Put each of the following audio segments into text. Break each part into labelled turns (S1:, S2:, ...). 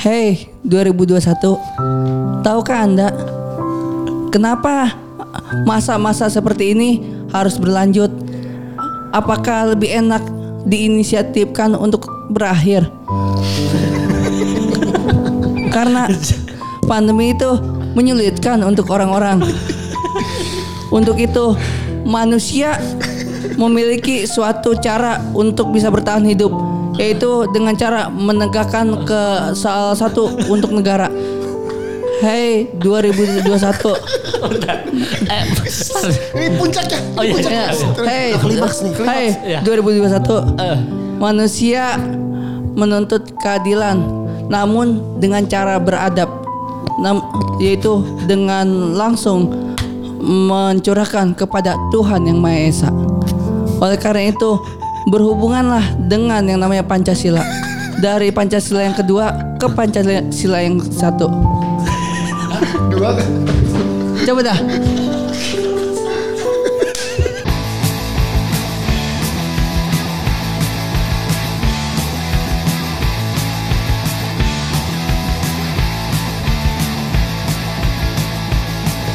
S1: Hey 2021 Tahukah anda Kenapa masa-masa seperti ini harus berlanjut Apakah lebih enak diinisiatifkan untuk berakhir Karena pandemi itu menyulitkan untuk orang-orang Untuk itu manusia memiliki suatu cara untuk bisa bertahan hidup yaitu dengan cara menegakkan ke salah satu untuk negara. Hey 2021.
S2: Eh,
S3: Ini puncaknya.
S2: Oh, iya,
S3: puncaknya.
S2: iya. Eh.
S1: Hey
S3: Klimaks nih, klimaks.
S1: Hey
S2: Ya.
S1: 2021. Manusia menuntut keadilan namun dengan cara beradab Nam- yaitu dengan langsung mencurahkan kepada Tuhan yang Maha Esa. Oleh karena itu, berhubunganlah dengan yang namanya Pancasila. Dari Pancasila yang kedua ke Pancasila yang satu.
S3: Dua kan?
S1: Coba dah.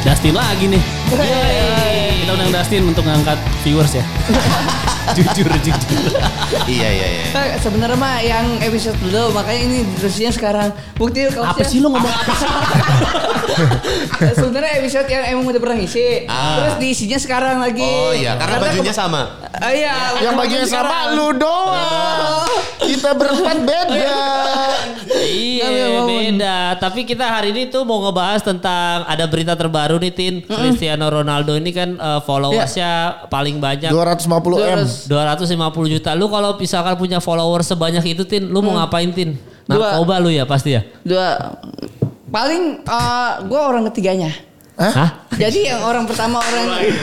S2: Dustin lagi nih. Iya, Yeay. Kita undang Dustin untuk ngangkat viewers ya. jujur, jujur.
S4: iya iya iya.
S1: Eh, Sebenarnya mah yang episode dulu makanya ini terusnya sekarang. Bukti kalau
S2: Apa sih lu ngomong apa sih?
S1: Sebenarnya episode yang emang udah pernah ngisi.
S4: Ah.
S1: Terus diisinya sekarang lagi.
S4: Oh iya, karena bajunya
S1: kema-
S4: sama.
S1: Ah, iya,
S3: Yang
S1: karena
S3: bagian
S1: sekarang.
S3: sama lu doang. Kita berempat
S2: Oh,
S3: beda.
S2: Iya beda. Tapi kita hari ini tuh mau ngebahas tentang ada berita terbaru nih Tin. Cristiano Ronaldo ini kan eh, followersnya
S1: Iya.
S2: paling banyak.
S3: 250 m.
S2: 250 juta. Lu kalau misalkan punya followers sebanyak itu Tin, lu mau ngapain Tin?
S1: Mm. Dua.
S2: Narkoba lu ya pasti ya?
S1: Dua paling eh, gua orang ketiganya.
S2: Hah?
S1: Jadi yang orang pertama orang eh,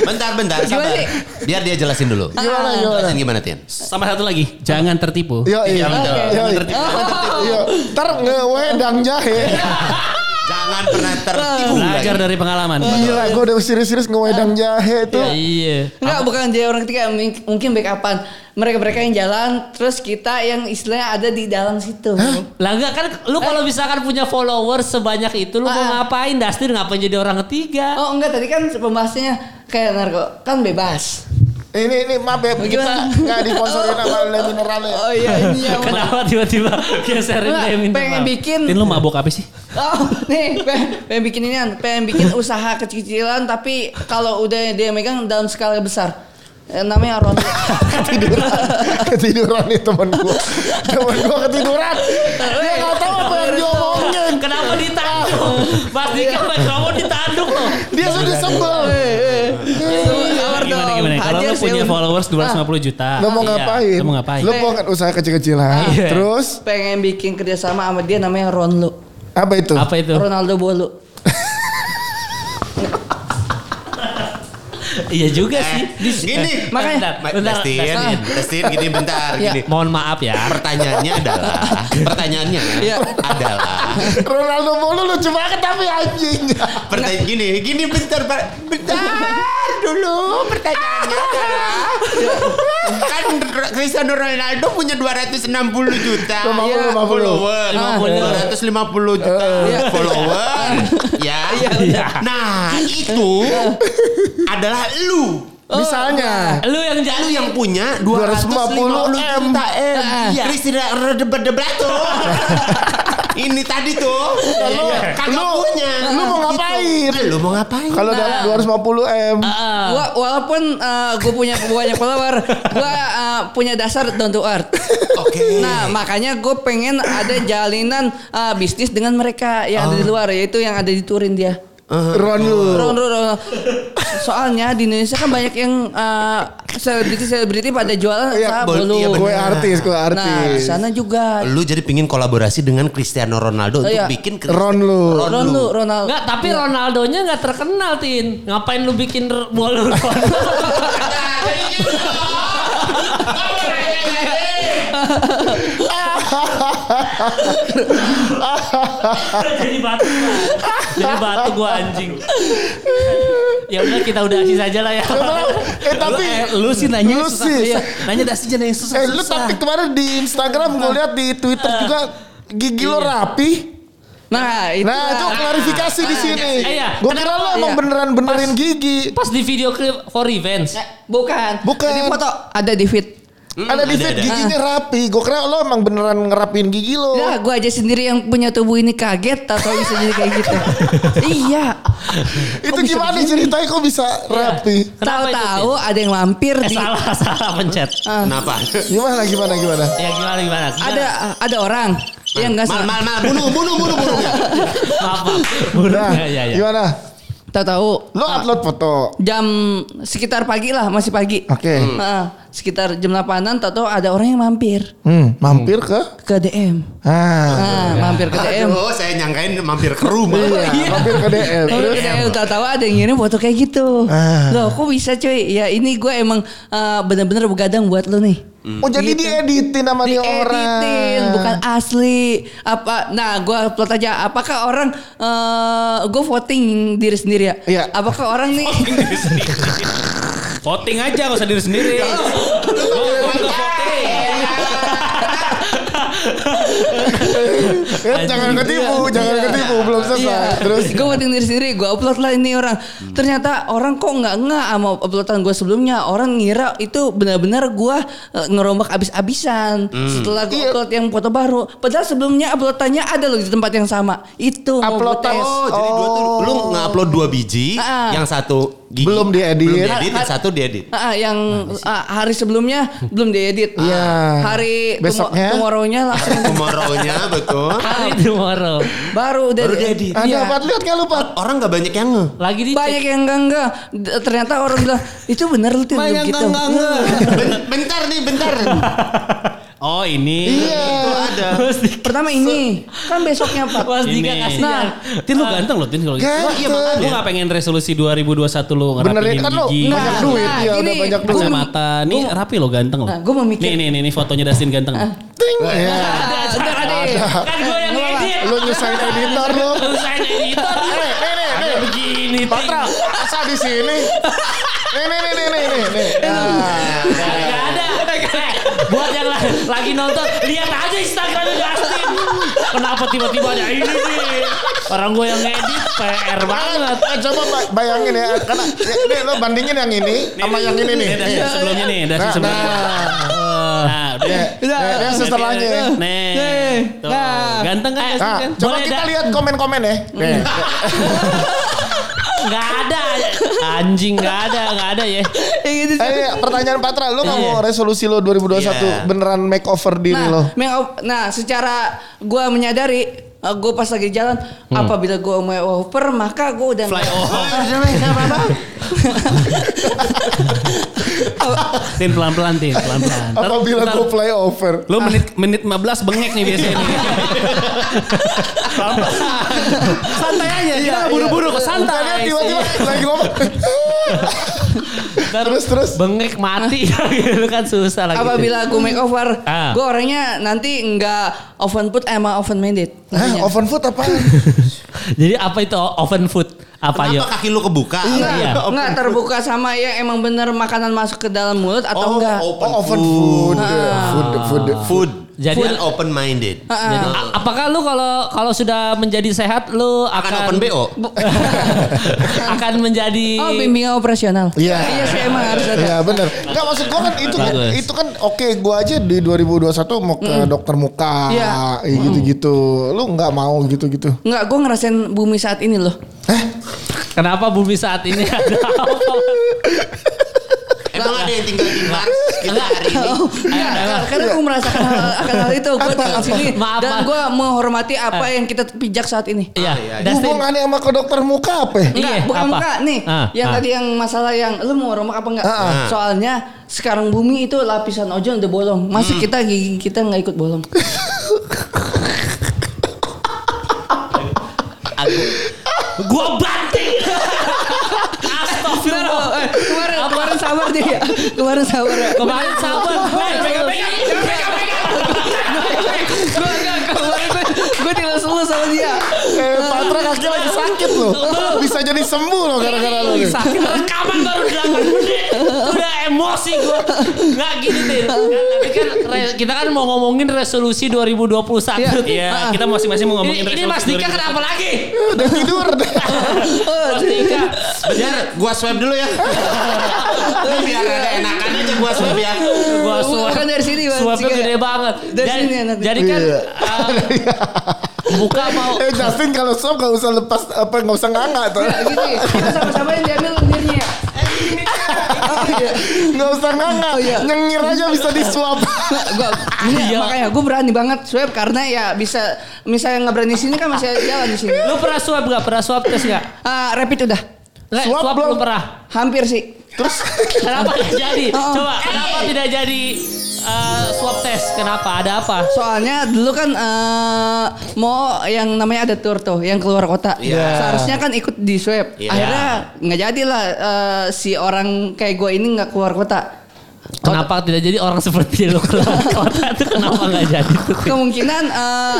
S4: Bentar bentar,
S1: Gimana
S4: sabar.
S1: sih?
S4: Biar dia jelasin dulu.
S3: Gimana
S2: Ah.
S3: gimana?
S4: Jelasin gimana Tian?
S2: Sama satu lagi, jangan tertipu.
S3: Yo, iya,
S4: Oke.
S3: yo, iya. Ntar ngewedang jahe.
S4: Jangan pernah tertipu
S2: Belajar dari pengalaman.
S1: Iya.
S3: Gila, gue udah serius-serius ngewedang jahe tuh.
S2: Ah. Iya.
S1: Eh, Enggak, bukan jadi orang ketiga, ming- mungkin backupan. Mereka-mereka yang jalan, terus kita yang istilahnya ada di dalam situ.
S2: Lah enggak kan lu kalau misalkan punya followers sebanyak itu lu mau
S1: Eh. Ah.
S2: ngapain? Dustin ngapain jadi orang ketiga?
S1: Oh enggak, tadi kan pembahasannya kayak narko, kan bebas.
S3: Ini, ini maaf ya, kita
S1: Gimana?
S3: nggak disponsorin sama Le Mineral ya.
S1: Oh iya, iya. benar.
S2: Kenapa tiba-tiba geserin
S1: Enggak,
S2: dia minta
S1: pengen
S2: maaf?
S1: bikin.
S2: Tin lu mabok apa sih?
S1: Oh, nih, pengen, pengen bikin ini, pengen bikin usaha kecil-kecilan, tapi kalau udah dia megang dalam skala besar. Eh, Namanya Arwan.
S3: ketiduran ketiduran nih temen gua temen gua ketiduran dia nggak tahu apa yang diomongin
S2: Kenapa ditanduk? Mas Dika mikrofon ditanduk loh.
S3: dia
S2: Iya,
S3: sudah sebel
S1: Iya.
S3: Eh,
S1: Sabar
S2: Gimana
S1: dong,
S2: gimana? Kalau
S1: hajar
S2: lu
S1: sih Ah.
S2: punya
S1: lu.
S2: followers 250 juta.
S3: lo mau
S2: Iya,
S3: ngapain
S2: Lu mau ngapain?
S3: lo mau kan usaha kecil-kecilan
S2: Iya.
S3: terus
S1: Pengen bikin kerjasama sama dia namanya Ronlo.
S3: apa itu
S2: Apa itu?
S1: Ronaldo Bolu.
S2: Iya juga sih. Eh,
S4: Gini.
S1: Makanya-
S2: Bentar,
S4: Ma-
S2: bentar.
S4: Dustin,
S2: Dustin.
S4: Dustin gini bentar
S1: Iya.
S4: gini.
S2: Mohon maaf ya.
S4: Pertanyaannya adalah, pertanyaannya
S1: Iya.
S4: adalah,
S3: Ronaldo Bolo lucu banget tapi anjing
S4: pertanyaan gini, gini bentar, Pak. bentar dulu pertanyaannya adalah, kan Cristiano Ronaldo punya 260 juta. Iya,
S3: 50, 50.
S4: follower 250 juta
S3: Eh.
S4: follower ya
S3: Iya,
S4: nah itu adalah lu
S3: misalnya
S2: Lu yang
S4: lu
S2: jalu yang
S4: yang punya
S3: 250 M.
S4: 250
S3: Nah,
S4: juta M iya. Kristina berdebat tuh ini tadi tuh
S3: Nah,
S4: Iya.
S3: lu-
S4: kakak
S3: lu-
S4: punya Nah,
S3: lu mau ngapain?
S4: lu mau ngapain
S3: kalau dapat 250 m Ah.
S1: Gua walaupun gue punya banyak follower, gua eh, punya dasar down to earth.
S4: oke
S1: Nah, makanya gue pengen ada jalinan eh, bisnis dengan mereka yang ada di luar, yaitu yang ada di Turin dia.
S3: Ron lu
S1: Ron, ron, ron. Soalnya di Indonesia kan banyak yang eh, selebriti-selebriti pada jualan
S3: Iya,
S1: usaha
S4: bol-
S1: bolu.
S4: iya,
S3: gue
S4: bener.
S3: artis gue
S1: Nah, di
S3: artis Eh,
S1: sana juga.
S4: lu jadi pingin kolaborasi dengan Cristiano Ronaldo untuk
S1: Iya.
S4: bikin Cristiano-
S3: Ron lu
S1: Ron lu, Ronaldo.
S2: Enggak, tapi
S3: Iya.
S2: Ronaldonya nggak terkenal, Tin. Ngapain lu bikin r- bolu Ronaldo? Jadi batu. Jadi batu gua anjing. Ya udah kita udah asis aja lah ya.
S3: eh tapi
S2: eh, lu sih nanya
S3: Lu
S2: susah.
S3: sih.
S2: Iya, nanya dasi aja yang susah.
S3: Eh lu tapi kemarin di Instagram gue lihat di Twitter juga gigi lo rapi.
S1: Nah itu.
S3: Nah itu klarifikasi di sini.
S2: Eh, iya.
S3: Gue kira lo
S1: Kenapa?
S3: emang
S1: Iya.
S3: beneran benerin gigi.
S2: Pas di video klip for revenge.
S1: Bukan.
S3: Bukan.
S1: Jadi foto ada di feed.
S3: Ada di fit giginya rapi. Gue kira lo emang beneran ngerapin gigi lo.
S1: Lah gue Nah, aja sendiri yang punya tubuh ini kaget atau bisa jadi kayak gitu. iya.
S3: itu
S1: bisa
S3: gimana
S1: begini?
S3: ceritanya kok bisa rapi?
S2: iya. Kenapa itu,
S1: Tahu-tahu ada yang lampir
S2: Eh,
S1: di
S2: salah salah pencet.
S4: Kenapa?
S3: Gimana gimana gimana?
S2: Ya gimana gimana? gimana?
S1: ada ada orang yang Iya, nggak
S4: Mal,
S1: sengaja.
S4: mal, mal. Bunuh, bunuh, bunuh, bunuh.
S2: Maaf, maaf. Burung.
S3: Nah,
S2: Ya, ya, ya.
S3: gimana?
S1: Tahu-tahu
S3: Lo upload foto.
S1: jam sekitar pagi lah masih pagi.
S3: Oke.
S1: Heeh, sekitar jam 8-an tahu-tahu ada orang yang mampir
S3: Hmm, mampir ke?
S1: ke DM.
S3: Ah.
S1: Nah, mampir ke DM.
S4: Aduh, saya nyangkain mampir ke rumah.
S3: Iya, mampir ke DM.
S1: Mampir ke DM tahu-tahu ada yang ngirim foto kayak gitu.
S3: Ah.
S1: Loh, kok bisa cuy? Ya ini gue emang eh, bener-bener begadang buat lu nih.
S3: Oh jadi
S1: Gitu.
S3: dieditin sama dia orang.
S1: Editin bukan asli. Apa nah gua upload aja apakah orang eh gue voting diri sendiri ya?
S3: Iya.
S1: Apakah orang nih
S2: Voting aja gak usah diri sendiri. Gua gua juga voting.
S3: Eh, jangan ketipu, jangan ketipu, belum selesai. Terus
S1: Terus gue voting diri sendiri, gue upload lah ini orang. Ternyata orang kok nggak nggak sama uploadan gue sebelumnya. Orang ngira itu benar-benar gue eh, ngerombak abis-abisan.
S3: Hmm.
S1: Setelah
S3: Iya.
S1: gue upload yang foto baru, padahal sebelumnya uploadannya ada loh di tempat yang sama. Itu mau
S3: Upload
S1: gue tes.
S4: Oh, jadi dua tuh lu nge-upload dua biji,
S1: Ah.
S4: yang satu gigi.
S3: Belum diedit.
S4: Belum diedit, yang satu diedit.
S1: Ah, ah, yang ah, hari sebelumnya belum diedit. Ah,
S3: Iya.
S1: Hari
S3: Besoknya?
S1: tumo- tomorrow-nya langsung
S4: Tomorrow-nya betul.
S2: Hari tomorrow.
S1: baru udah
S4: Baru
S1: di-
S4: diedit.
S3: ada
S1: Iya.
S3: apa? Lihat nggak lupa?
S4: Orang nggak banyak yang nge.
S2: Lagi di
S1: Banyak yang enggak enggak. D- Ternyata orang bilang itu bener lu tuh
S2: Banyak
S1: gitu.
S2: yang enggak-enggak.
S4: Ben- Bentar nih, bentar.
S1: Iya.
S2: Oh ini.
S3: Iya.
S4: Itu ada.
S2: Terus di-
S1: Pertama ini kan besoknya Pak.
S2: Pas Dika
S1: Ini.
S2: kasih
S1: Nah,
S2: Iya. Tin lu ganteng loh Tin kalau gitu.
S3: Ganteng.
S2: Wah, Iya makanya. Gue gak pengen resolusi 2021 lu
S3: Benerin
S2: ngerapihin
S3: kan lo
S2: gigi.
S3: banyak
S1: Nah,
S3: duit,
S1: nah,
S3: ya udah
S1: gini.
S3: banyak duit.
S2: Kacamata. Nih rapi lo ganteng lo.
S1: Nah, gua mau mikir.
S2: Nih nih nih, nih fotonya Dustin ganteng.
S3: Ting. Ya.
S1: Ah, Enggak ada.
S2: Kan gue yang
S1: Nggak apa-apa.
S2: edit.
S3: Lo nyusahin editor Eh, lo.
S2: Terus saya editor.
S3: Nih, nih, nih,
S2: Ada
S3: nih.
S2: begini Tin.
S3: Patra, masa di sini? Nih, nih, nih, nih, nih, nih, nih. Ah.
S2: Gak ada. Eh, Buat yang la- lagi nonton, lihat aja Instagram Dustin. Kenapa tiba-tiba ada ini nih? Orang gue yang edit PR banget.
S3: Ah, coba bay- bayangin ya, karena ya, nih, lo bandingin yang ini sama yang ini nih. Iya,
S2: Ini Dustin sebelumnya nih, Dustin
S3: Nah,
S2: sebelumnya.
S3: nah.
S2: Nah, udah.
S3: Ya, ya, ya, setelahnya. ya.
S2: Nih. Tuh.
S1: Nah.
S2: Ganteng kan Dustin
S3: Nah,
S2: kan?
S3: coba kita
S2: dah.
S3: lihat komen-komen ya. Nih.
S2: Gak ada. Anjing gak ada, gak ada ya.
S1: Yang gitu
S3: Eh, iya, pertanyaan Patra, lo nggak mau resolusi lo 2021
S4: Iya.
S3: beneran makeover diri
S1: Nah,
S3: lo?
S1: make up- nah secara gue menyadari gue pas lagi jalan
S3: Hmm.
S1: apabila gue mau over maka gue udah
S2: Fly
S1: nggak-
S2: over. Tin pelan-pelan, Tin. Pelan-pelan. Ntar-
S3: Apabila
S2: ntar-
S3: gue flyover.
S2: Lo menit menit 15 bengek nih biasanya. nih. santai aja. Kita buru-buru kok
S3: Bukannya
S2: santai.
S3: Nah,
S2: Iya.
S3: tiba-tiba lagi ngomong.
S2: Ntar
S3: Terus, terus.
S2: Bengek mati gitu kan susah lagi.
S1: apabila
S3: Hmm.
S1: gue make over
S2: Ah.
S1: gue orangnya nanti nggak oven put sama oven minded
S3: Hah, oven food apa?
S2: Jadi apa itu oven food? Apa yuk?
S4: Kenapa kaki lu kebuka?
S2: Iya.
S1: nggak terbuka sama ya emang bener makanan masuk ke dalam mulut atau enggak
S4: open
S3: Oh, oven
S4: food.
S3: food. Food, food, food.
S4: Food.
S2: Jadi-
S4: Jadi open minded.
S1: Ah,
S2: Jadi, a- apakah lu kalau kalau sudah menjadi sehat lu akan
S1: kan.
S4: Akan open BO.
S2: akan menjadi
S1: oh bimbingan operasional
S3: Iya.
S1: iya sih emang harus ada
S3: Iya benar. Enggak maksud gua kan itu kan
S2: Bagus.
S3: itu kan oke gua aja di 2021 mau ke dokter muka
S1: Iya.
S3: iya gitu-gitu. Lu nggak mau gitu-gitu. Eh,
S1: Enggak, gue ngerasain bumi saat ini loh.
S2: Kenapa bumi saat ini ada apa?
S4: Emang ada yang tinggal di Mars kita hari ini?
S2: Iya,
S1: Enggak, karena gue merasakan hal, akan hal itu. Gue di sini
S2: Maaf, Eh.
S1: dan
S2: maaf.
S1: gue menghormati apa yang kita pijak saat ini.
S2: Iya, Dustin.
S3: Hubungannya sama ke dokter muka apa? ya?
S1: Enggak,
S2: Iya,
S1: bukan
S2: apa?
S1: enggak nih.
S2: Ah,
S1: yang
S2: ah.
S1: tadi yang masalah yang lu mau rombak apa enggak? Soalnya sekarang bumi itu lapisan ozon udah bolong. Masih
S2: Hmm.
S1: kita gigi kita nggak ikut bolong.
S4: Aku
S2: Gua banting. Astagfirullah.
S1: Bentar, eh, kemarin kemarin sabar deh ya. Kemarin sabar ya.
S2: Kemarin sabar. Hey, pegang-pegang.
S1: Gue enggak kemarin gue gue dilus-lus sama dia.
S3: Eh, Patra kaki lagi sakit loh. Iya, Bisa jadi sembuh loh gara-gara lu.
S2: Sakit rekaman baru 8 menit. Udah emosi emosi gue. Nggak gini Tin.
S1: Iya.
S2: Nggak, Tapi kan re- kita kan mau ngomongin resolusi 2021.
S1: Iya.
S5: Iya, kita masing-masing mau
S2: Ini,
S5: ngomongin
S2: ini Mas Dika kenapa lagi?
S3: Udah tidur deh.
S2: Mas Dika.
S4: Biar gua swipe dulu ya. Biar ada enakan aja gua swipe ya.
S2: Gua
S1: Bukan
S2: suap-
S1: dari sini, Mas.
S2: suapnya
S1: Dika. ya.
S2: gede banget.
S1: Dari
S2: Dan-
S1: sini ya nanti.
S2: Jadi kan
S3: Iya.
S2: uh, buka mau
S3: Eh Justin kalau sob gak usah lepas apa gak usah nganga tuh.
S1: Gini, kita sama-sama yang diambil lendirnya ya.
S3: Gak usah nganga. Nyengir aja bisa disuap.
S1: gua,
S2: Iya.
S1: ini makanya gue berani banget swab karena ya bisa misalnya nggak berani sini kan masih jalan di sini.
S2: Lu pernah swab gak? Pernah swab tes gak?
S1: Ah, rapid udah.
S2: Nggak,
S3: Swab
S2: swab
S3: belum.
S2: belum pernah.
S1: Hampir sih.
S3: Terus
S2: Kenapa nggak jadi?
S1: Oh.
S2: Coba kenapa tidak jadi eh, swab test? Kenapa? Ada apa?
S1: Soalnya dulu kan eh, mau yang namanya ada tour tuh yang keluar kota.
S4: Iya.
S1: Seharusnya kan ikut di swab.
S4: Iya.
S1: Akhirnya nggak jadilah eh, si orang kayak gue ini nggak keluar kota.
S2: Kenapa tidak jadi orang seperti lu keluar kota itu kenapa nggak jadi tuh?
S1: Kemungkinan eh,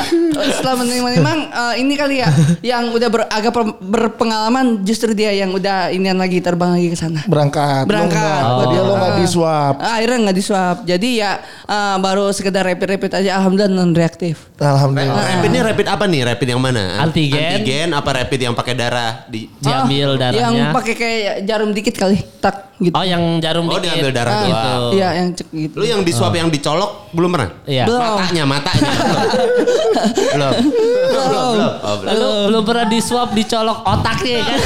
S1: setelah menerima-menerima eh, ini kali ya yang udah ber- agak per- berpengalaman justru dia yang udah inian lagi terbang lagi ke sana.
S3: berangkat.
S1: Berangkat.
S3: Lo nggak. Dia lo gak
S1: Ah.
S3: disuap.
S1: Ah, akhirnya nggak disuap. Jadi ya ah, baru sekedar rapid-rapid aja. Alhamdulillah non reaktif.
S3: Alhamdulillah.
S4: Rapidnya rapid apa nih? Rapid yang mana?
S2: Antigen.
S4: Antigen apa rapid yang pakai darah di
S2: Diambil darahnya.
S1: Ah, Yang pakai kayak jarum dikit kali. Tak gitu.
S2: Oh yang jarum
S4: Oh,
S2: dikit.
S4: diambil darah
S1: Ah,
S4: doang.
S1: Iya yang cek gitu.
S4: Lu yang disuap yang dicolok belum pernah?
S2: Iya.
S1: Belum.
S4: Matanya, matanya. belum. Belum. Belum. belum. Oh, belum.
S2: Lu belum pernah di swab dicolok otaknya kan?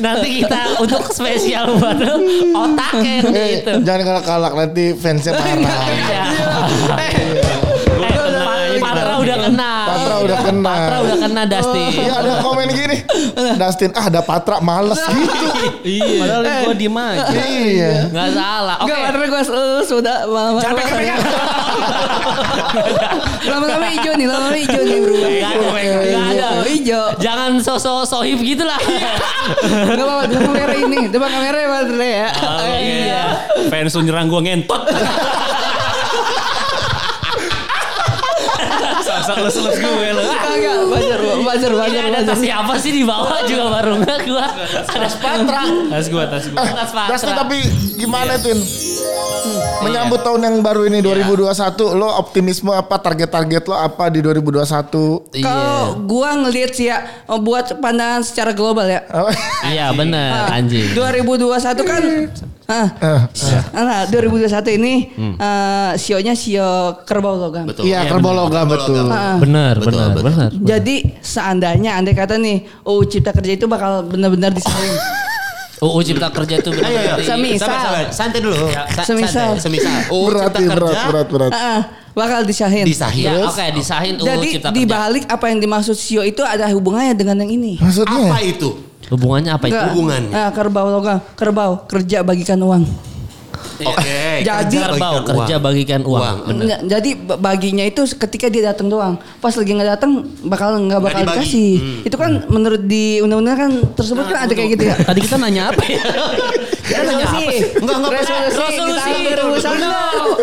S2: Nanti kita untuk spesial buat lu, otaknya yang
S3: Eh,
S2: gitu.
S3: jangan kalak-kalak nanti fansnya marah.
S2: Iya. Eh, Pat- Patra udah kena. Iya,
S3: Patra udah kena.
S2: Patra udah kena Dusty.
S3: Iya ada komen gini. Dustin, ah ada Patra males gitu.
S5: Iya. Padahal gue diem aja.
S3: iya.
S2: Nggak salah. Oke.
S1: Enggak, karena gue eh, sudah lama
S2: Jangan pegang-pegang.
S1: Lama-lama hijau nih, lama-lama hijau nih bro.
S2: Nggak ada, nggak ada.
S1: Hijau.
S2: Jangan sosok sohib gitu lah.
S1: Enggak apa-apa, depan kamera ini. Depan kamera ya Mas Dre ya.
S2: Oh, iya.
S5: Fans lu nyerang gue ngentot. Sasak les-les gue lu.
S1: Kagak, wajar, wajar,
S2: Ini
S1: wajar,
S2: Iya, ada
S1: wajar.
S2: tas siapa sih di bawah juga baru nggak gua. Ada Patra.
S5: Tas gue, tas gue.
S2: Tas Patra. Iya. Hmm.
S3: Dustin tapi gimana Tin? Menyambut tahun yang baru ini 2021, lo optimisme apa? Target-target lo apa di 2021?
S2: Iya,
S1: Kalau Oh, gua ngelihat sih ya, buat pandangan secara global ya.
S3: Apa?
S2: Iya bener anjing.
S1: 2021 kan
S2: Hmm.
S1: ah, ah,
S3: Eh,
S1: 2021 ini
S2: Hmm.
S1: eh, sionya sio kerbau logam.
S4: Betul.
S3: Iya kerbologa betul.
S1: Ah,
S2: Bener,
S4: Betul,
S2: bener,
S4: betul.
S2: bener.
S1: jadi seandainya andai kata nih UU Cipta Kerja itu bakal benar-benar disayang.
S2: UU Cipta Kerja itu bener.
S4: Ayo, ayo.
S1: Semisal.
S4: Sabar, sabar. Santai dulu. Sa-
S1: Semisal.
S4: santai, Semisal. Oh,
S3: Berat,
S4: cipta
S3: Tin,
S4: kerja
S3: berat, berat, berat.
S1: Ah, bakal disahin.
S4: Disahin.
S2: Ya, oke disahin UU
S1: Jadi
S2: Cipta
S1: di
S2: Kerja.
S1: balik apa yang dimaksud sio itu ada hubungannya dengan yang ini.
S3: Maksudnya?
S4: Apa itu?
S2: Hubungannya apa itu?
S1: Enggak.
S4: hubungannya?
S1: Ah, kerbau logam, kerbau kerja bagikan uang.
S4: Oke.
S1: Jadi-
S4: kerja
S2: Kerbau,
S4: bagikan
S2: kerja
S4: uang.
S2: bagikan uang.
S4: Uang.
S1: Nggak, jadi ba- baginya itu ketika dia datang doang. Pas lagi nggak datang bakal nggak bakal
S4: dibagi.
S1: dikasih. Itu kan menurut di undang-undang kan tersebut kan ada kayak gitu ya.
S2: Tadi kita nanya apa ya?
S1: Resolusi.
S4: Enggak, enggak,
S1: Resolusi.
S2: Resolusi.
S1: kita berurusan.
S2: Bener.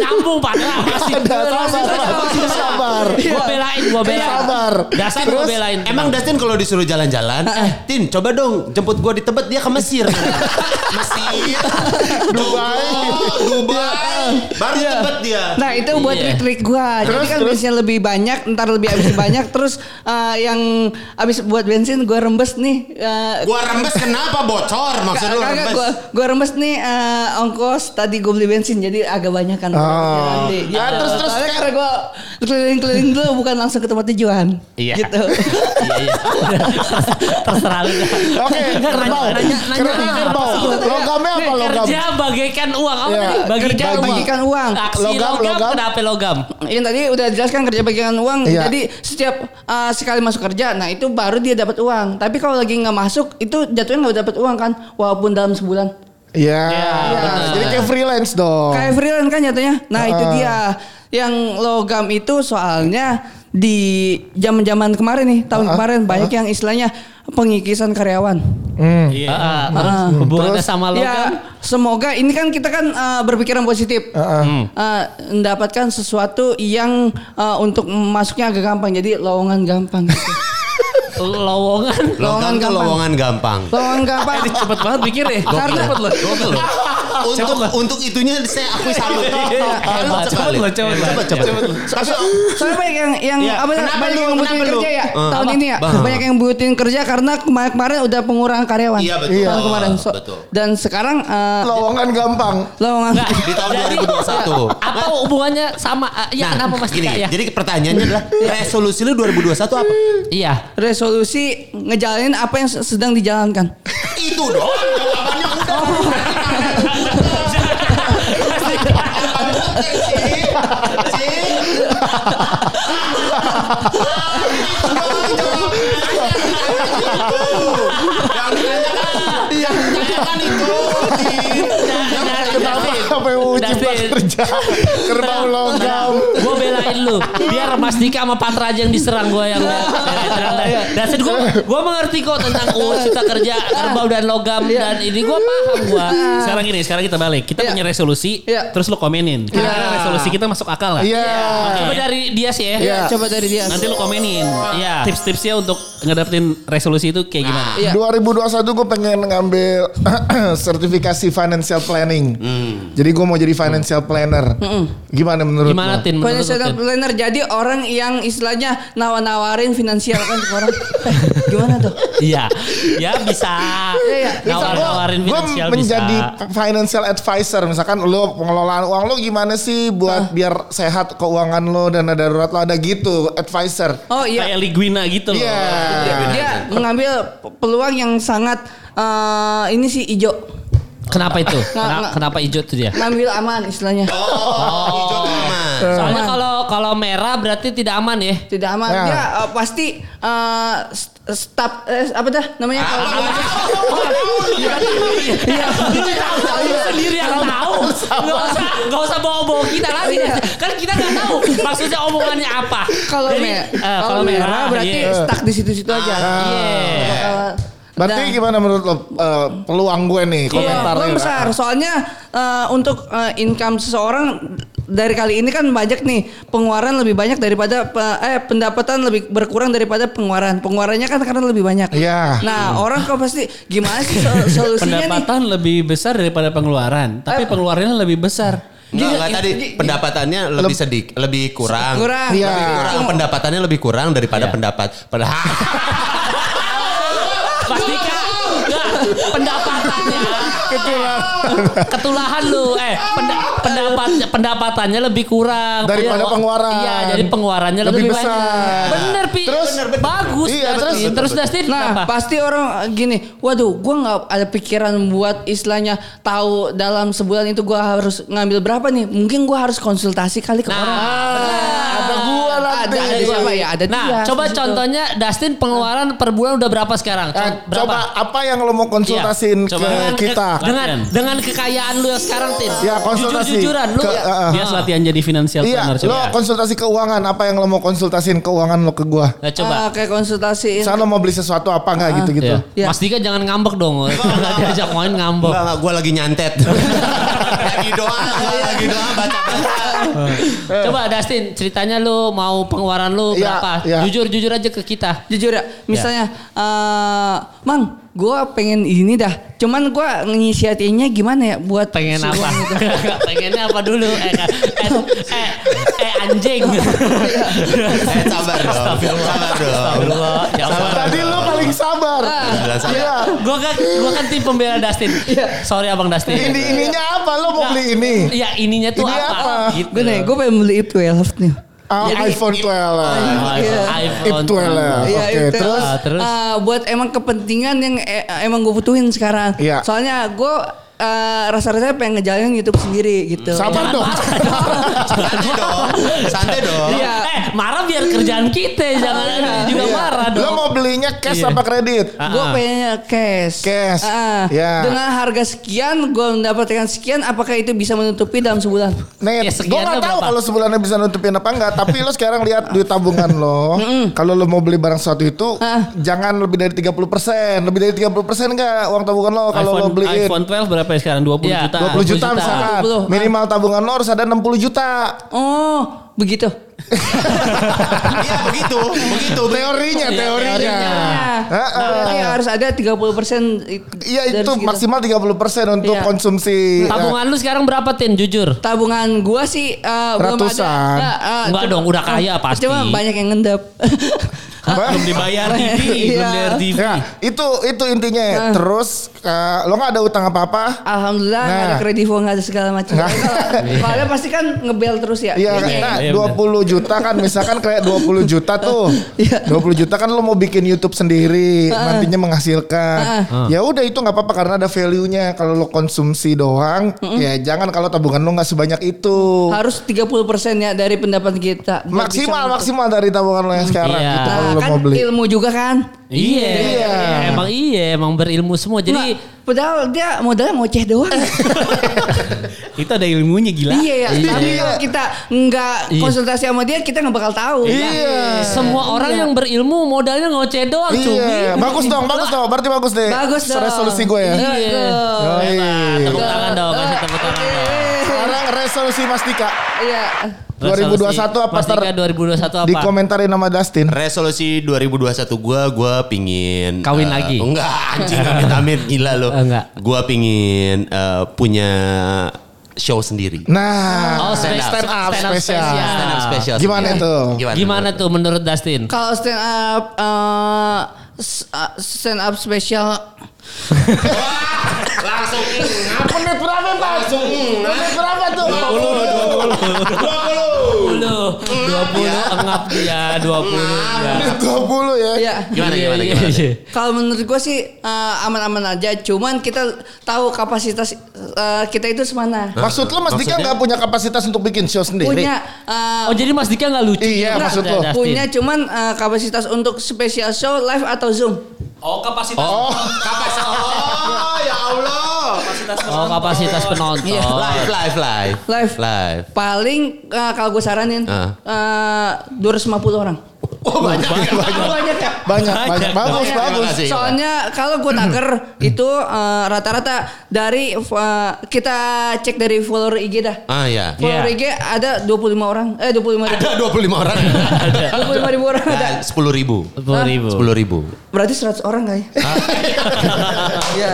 S2: Nyambung Patra. Masih.
S3: Ada
S2: iya,
S3: sabar, sabar.
S2: Gue belain, gue belain.
S3: Sabar.
S2: Dasar gue
S3: Terus,
S2: belain.
S4: Emang Dustin kalau disuruh jalan-jalan, eh, Tin coba dong jemput gua di Tebet dia ke Mesir. Mesir, Dubai, Dubai, baru Tebet dia.
S1: Nah itu buat
S2: Iya.
S1: trik-trik gua. Jadi
S3: Terus,
S1: kan
S3: terus.
S1: bensinnya lebih banyak, ntar lebih habis banyak. Terus eh, yang habis buat bensin gua rembes nih. eh,
S4: Gua rembes kenapa bocor maksud lu
S1: Kagak,
S4: rembes?
S1: gua, gua rembes nih eh, ongkos tadi gua beli bensin jadi agak banyak kan.
S3: Oh.
S1: Ya, terus terus karena gua keliling-keliling dulu bukan langsung ke tempat tujuan.
S2: Iya.
S1: Gitu.
S2: Iya, iya. Terserah lu.
S3: Oke,
S2: Nanya-
S3: kerbau.
S2: nanya- nanya-
S3: Kerbau, kerbau. Logamnya apa logam?
S2: Kerja bagaikan uang. Apa
S3: Iya.
S2: tadi? Bagikan
S1: Kerja
S2: uang.
S1: bagikan uang.
S2: Aksi
S3: Logam,
S2: logam,
S3: logam.
S2: Kenapa logam?
S1: Yang tadi udah jelaskan kerja bagian uang.
S3: Iya.
S1: Jadi setiap eh, sekali masuk kerja, nah itu baru dia dapat uang. Tapi kalau lagi nggak masuk, itu jatuhnya nggak dapat uang kan, walaupun dalam sebulan.
S3: Iya.
S1: benar.
S3: Jadi kayak freelance dong.
S1: Kayak freelance kan jatuhnya. Nah, itu
S3: Oh. Ah.
S1: dia. Yang logam itu soalnya di zaman-zaman kemarin nih, tahun
S3: Ah, ah,
S1: kemarin banyak yang istilahnya pengikisan karyawan.
S3: Hmm.
S2: Iya. Terus hubungannya sama
S5: Iya.
S2: logam.
S1: Ya, semoga ini kan kita kan eh, berpikiran positif.
S3: Heeh.
S1: Eh, mendapatkan sesuatu yang eh, untuk masuknya agak gampang. Jadi lowongan gampang. gitu.
S2: Lowongan.
S4: Lowongan
S1: Lowongan
S4: ke
S1: gampang.
S4: lowongan gampang.
S1: lowongan gampang.
S5: Cepet banget pikir deh.
S1: Karena
S4: Gokil loh. Untuk
S5: Cepet lah.
S4: untuk itunya saya aku
S2: Iya,
S4: salut.
S2: Hebat
S4: Hebat
S5: Iya. Cepet
S4: sekali.
S5: lah, cepet lah.
S4: Cepet cepet. Tapi
S1: Soalnya banyak yang yang
S4: Iya,
S1: apa
S4: kenapa
S1: banyak
S4: lu-
S1: yang butuhin
S4: kenapa lu?
S1: kerja ya
S4: Eh,
S1: tahun
S4: apa?
S1: ini ya.
S4: Bah.
S1: Banyak yang butuhin kerja karena kemarin kemarin udah pengurangan karyawan.
S4: Iya, betul.
S1: Tahun
S4: Iya.
S1: kemarin. So-
S4: Betul.
S1: Dan sekarang eh,
S3: Lowongan gampang.
S1: lowongan
S4: di tahun
S2: Nah, Jadi,
S4: 2021.
S2: Apa hubungannya sama eh, ya
S3: Nah,
S2: kenapa Mas
S4: Nah, gini,
S2: Dika ya?
S4: Jadi pertanyaannya adalah resolusi lu 2021 apa?
S2: Iya.
S1: resolusi ngejalanin apa yang sedang dijalankan.
S4: Itu dong jawabannya udah.
S2: Iya,
S3: Kenapa KPU cipta
S2: Dustin.
S3: kerja? Kenapa lowongan
S2: Gue belain lu Biar Mas Dika sama Patra aja yang diserang gue yang
S1: Iya.
S2: Nah, Dan gue Gue mengerti kok tentang UU Cipta Kerja Kerbau dan logam Dan ini gue paham gue
S5: Sekarang gini, sekarang kita balik. Kita
S1: Iya.
S5: punya resolusi,
S1: Iya.
S5: terus lo komenin. Kira-kira resolusi kita masuk akal lah.
S3: Iya.
S2: Coba dari dia sih ya
S3: Iya.
S1: Coba dari dia.
S5: Nanti lo komenin.
S2: Iya.
S5: Tips-tipsnya untuk ngedapetin resolusi itu kayak gimana?
S1: Iya.
S3: 2021 gue pengen ngambil sertifikasi financial planning.
S4: Hmm.
S3: Jadi gue mau jadi financial planner. Gimana menurut
S2: Gimana
S3: lo?
S2: Tin menurut lu,
S1: Financial
S2: Tin?
S1: planner jadi orang yang istilahnya nawar-nawarin finansial kan ke orang. Eh, gimana tuh?
S2: Iya Ya bisa
S1: iya.
S2: Nawar-nawarin
S3: Gue
S2: finansial bisa
S3: menjadi financial advisor misalkan lo pengelolaan uang lo gimana sih buat biar sehat keuangan lo dana darurat lo ada gitu advisor.
S1: Oh iya.
S5: Kayak Liguina gitu loh.
S3: Iya.
S1: Dia mengambil peluang yang sangat eh, ini sih ijo
S2: Kenapa itu? Kena-
S1: nggak.
S2: Kenapa hijau tuh dia?
S1: ngambil aman istilahnya
S4: Oh.
S2: Soalnya
S1: Aman.
S2: kalau kalau merah berarti tidak aman ya.
S1: tidak aman
S3: Ya.
S1: dia eh, pasti eh, st- staf eh, apa dah namanya kalau
S2: Iya, itu tahu tahu sendiri yang tahu. Enggak usah enggak usah bawa-bawa kita lagi. Kan kita enggak tahu maksudnya omongannya apa.
S1: kalau
S2: Jadi,
S1: me-
S2: eh, kalau merah
S1: berarti
S2: iya.
S1: stuck di situ-situ aja.
S2: Iya.
S1: Eh,
S3: Berarti
S1: dan-
S3: gimana menurut lo eh, peluang gue nih
S1: Iya,
S3: komentar
S1: peluang besar. Soalnya eh, untuk eh, income seseorang dari kali ini kan banyak nih pengeluaran lebih banyak daripada pe- eh pendapatan lebih berkurang daripada pengeluaran. Pengeluarannya kan karena lebih banyak.
S3: Iya.
S1: Nah, orang kok pasti gimana sih so- solusinya nih?
S5: Pendapatan lebih besar daripada
S2: Eh.
S5: pengeluaran, tapi pengeluarannya lebih besar.
S4: Enggak, enggak tadi pendapatannya lebih sedikit, lebih kurang.
S1: Kurang.
S3: Iya.
S4: Lebih kurang. Pendapatannya lebih kurang daripada
S5: Iya.
S4: pendapat. Padahal
S2: Pasti
S5: Iya.
S2: kan enggak pendapatannya. Ketulahan lu eh penda- pendapat pendapatannya lebih kurang
S3: Daripada
S2: Pengeluar-
S3: pengeluaran.
S2: Iya, jadi pengeluarannya
S3: Lebih
S2: lebih,
S3: besar.
S2: banyak. Bener, Pi.
S3: Terus-
S2: Bener, bener. bagus.
S3: Iya, terus-
S2: Dustin. terus Dustin
S1: Nah,
S2: kenapa?
S1: pasti orang eh, gini, waduh, gua nggak ada pikiran buat istilahnya tahu dalam sebulan itu gua harus ngambil berapa nih. Mungkin gua harus konsultasi kali
S2: Nah,
S1: ke orang.
S3: Ada gua nanti.
S1: Ada, ada siapa ya? Ada
S2: nah,
S1: dia.
S2: coba
S1: Di situ.
S2: contohnya Dustin pengeluaran per bulan udah berapa sekarang?
S3: Eh,
S2: Con- berapa?
S3: coba apa yang lo mau konsultasiin
S5: Iya, coba.
S3: ke kita?
S5: Latihan.
S2: Dengan dengan kekayaan lu yang sekarang, Tin.
S3: Ya, konsultasi.
S2: Jujur-jujuran lu.
S3: Ke- eh,
S2: ya.
S5: Dia latihan jadi financial
S3: Iya,
S5: planner
S3: lo
S5: coba.
S3: konsultasi keuangan. Apa yang lo mau konsultasiin keuangan lo ke gua?
S2: Nah, coba.
S1: Ah, kayak konsultasi.
S3: Misalnya lo mau beli sesuatu apa nggak gitu-gitu?
S5: Iya.
S1: Iya.
S2: Mas Dika jangan ngambek dong. Kalau diajak main ngambek.
S4: Enggak, enggak, gue lagi nyantet. lagi doa, gua lagi doa baca-baca.
S2: Coba Dustin, ceritanya lu mau pengeluaran lu
S3: Iya,
S2: berapa?
S3: iya.
S2: Jujur-jujur aja ke kita.
S1: jujur ya misalnya eh, mang gue pengen ini dah cuman gue nginisiatifnya gimana ya buat
S2: Pengen
S1: si
S2: apa?
S1: uang itu?"
S2: gitu. Pengennya apa dulu? Eh, eh, eh, eh anjing.
S3: Iya.
S4: Eh, sabar dong. Sabar dong.
S2: Astagfirullah, ya Allah.
S3: Tadi lo paling sabar.
S4: Alhamdulillah, sabar.
S3: Iya.
S2: Gue kan gue kan tim pembela Dustin. Sorry abang Dustin.
S3: Ini ininya apa? Lo mau beli ini?
S2: Iya ininya tuh
S3: Ini
S2: apa?
S3: apa?
S2: Gitu.
S1: gue nih gue pengen beli F12 nih
S3: Ah, iPhone 12.
S2: Ah,
S1: Iya.
S2: iPhone.
S3: iPhone 12.
S1: Iya,
S3: Oke,
S1: itu.
S3: terus
S2: Ah, terus?
S1: Ah, buat emang kepentingan yang eh, emang gue butuhin sekarang
S3: Iya.
S1: soalnya gue eh, rasa-rasanya pengen ngejalanin YouTube sendiri gitu
S3: sabar dong.
S4: Santai dong. Santai dong.
S1: Iya.
S2: Eh marah biar kerjaan kita jangan juga marah
S3: Iya. Lo
S2: dong.
S3: mau belinya cash apa kredit?
S1: Gue
S2: Ah.
S1: pengennya cash.
S3: Cash.
S1: Ah,
S3: Ya.
S1: Dengan harga sekian, gue mendapatkan sekian. Apakah itu bisa menutupi dalam sebulan?
S3: Nih,
S2: Ya,
S3: gue
S2: sekian
S3: gak
S2: lo
S3: tahu
S2: berapa?
S3: kalau sebulannya bisa nutupin apa enggak. Tapi lo sekarang lihat duit tabungan lo. kalau lo mau beli barang sesuatu itu,
S1: Ah.
S3: jangan lebih dari 30%. Lebih dari 30% enggak uang tabungan lo kalau lo
S5: iPhone,
S3: beliin.
S5: iPhone 12 berapa ya sekarang? 20
S2: Iya.
S5: juta.
S3: 20 juta,
S2: 20 juta.
S3: misalkan.
S1: 20, ah.
S3: Minimal tabungan lo harus ada 60 juta.
S1: Oh, begitu.
S4: Iya begitu, begitu.
S3: Teorinya,
S2: Iya,
S3: teorinya.
S2: teorinya.
S3: Heeh.
S1: Tapi harus ada 30 persen.
S3: Ah, Iya itu maksimal 30% untuk
S1: Iya.
S3: konsumsi eh,
S2: Tabungan lu sekarang berapa Tin? Jujur.
S1: Tabungan gua sih eh, belum ada.
S3: Ratusan.
S1: Nggak, eh,
S2: Enggak
S1: cuma-
S2: dong, udah kaya pasti.
S1: Cuma banyak yang ngendap.
S3: apa?
S5: Belum dibayar TV,
S1: Iya.
S5: belum dibayar TV.
S3: Ya, itu itu intinya. Terus eh, lo nggak ada utang apa-apa?
S1: Alhamdulillah nggak ada
S3: Nah.
S1: kredivo nggak ada segala macam.
S3: Nah.
S1: Kalau- Soalnya pasti kan ngebel terus ya.
S3: Iya, nah, 20 juta kan misalkan kayak 20 juta tuh.
S1: Iya. Ah,
S3: 20 juta kan lo mau bikin YouTube sendiri, nantinya menghasilkan.
S2: Ah.
S3: Ya udah itu nggak apa-apa karena ada value-nya. Kalau lo konsumsi doang, ya jangan kalau tabungan lo nggak sebanyak itu.
S1: Harus 30 persen ya dari pendapat kita. Biar
S3: maksimal
S1: bisa-
S3: maksimal dari tabungan lo yang sekarang
S2: Iya.
S3: gitu kalau
S1: Nah,
S3: lo
S1: kan
S3: mau beli.
S1: ilmu juga kan.
S2: Iya.
S3: Iya.
S2: Emang iya, emang berilmu semua. Jadi
S1: Nggak, padahal dia modalnya ngoceh doang.
S5: Itu ada ilmunya gila.
S1: iya ya. Tapi kalau kita nggak
S5: Iya.
S1: konsultasi sama dia kita nggak bakal tahu.
S3: Iya.
S2: semua orang yang berilmu modalnya ngoceh doang, Cumi.
S3: Iya, bagus dong, bagus dong. Berarti bagus deh.
S1: Bagus dong.
S3: Resolusi gue ya.
S1: Iya.
S2: Iya.
S3: Yoi.
S2: Tepuk tangan dong, kasih tepuk tangan. dong.
S3: Sekarang resolusi Mas Dika.
S1: Iya.
S3: 2021 apa
S2: Mas
S3: ntar
S2: Dika 2021 apa?
S3: dikomentarin nama Dustin?
S4: Resolusi 2021 gue, gue pingin
S2: Kawin
S4: eh,
S2: lagi?
S4: Enggak, anjing amit amit gila lo.
S2: Eh, enggak.
S4: Gue pingin eh, punya show sendiri.
S3: Nah,
S2: Oh, stand up.
S3: stand up
S2: Stand up
S3: spesial.
S2: spesial.
S4: Stand up special
S3: Gimana
S4: sendiri.
S3: tuh?
S2: Gimana tuh menurut Dustin?
S1: Kalau stand up eh, s- eh, stand up spesial
S4: Langsung
S3: Menit berapa, Pak? Menit berapa tuh?
S2: 20, 20 engap dia, 20 dia.
S1: ya.
S3: Menit 20 ya.
S4: Gimana,
S2: Iya,
S4: gimana,
S2: iya,
S4: gimana?
S2: iya.
S1: Kalau menurut gue sih eh, aman-aman aja, cuman kita tahu kapasitas eh, kita itu semana.
S3: Maksud lo Mas Dika nggak punya kapasitas untuk bikin show sendiri?
S1: Punya eh,
S2: Oh jadi Mas Dika nggak lucu?
S3: Iya,
S2: Nggak,
S3: maksud lo.
S2: Dustin.
S1: punya cuman eh, kapasitas untuk spesial show live atau zoom.
S2: Oh kapasitas.
S3: Oh,
S4: Oh ya Allah.
S2: Oh kapasitas penonton.
S1: Iya.
S4: Live, live, live.
S1: Live.
S4: Live.
S1: Paling eh, kalau gue saranin
S4: Ah.
S1: eh, 250 orang.
S4: Oh banyak.
S1: Itu banyak ya.
S3: banyak, banyak. Bagus, bagus.
S4: Iya,
S3: Hmm.
S4: makasih.
S1: Soalnya kalau gue taker itu eh, rata-rata dari eh, kita cek dari follower IG
S3: Iya.
S1: dah.
S4: Ah
S2: Iya.
S4: ya.
S1: Follower IG ada 25 orang. Eh 25 ribu.
S4: Ada 25 orang.
S1: 25 ribu
S3: Nah,
S1: orang ada.
S4: Sepuluh ribu.
S2: 10 ribu.
S4: Sepuluh ribu.
S1: Berarti 100 orang gak ya? Iya.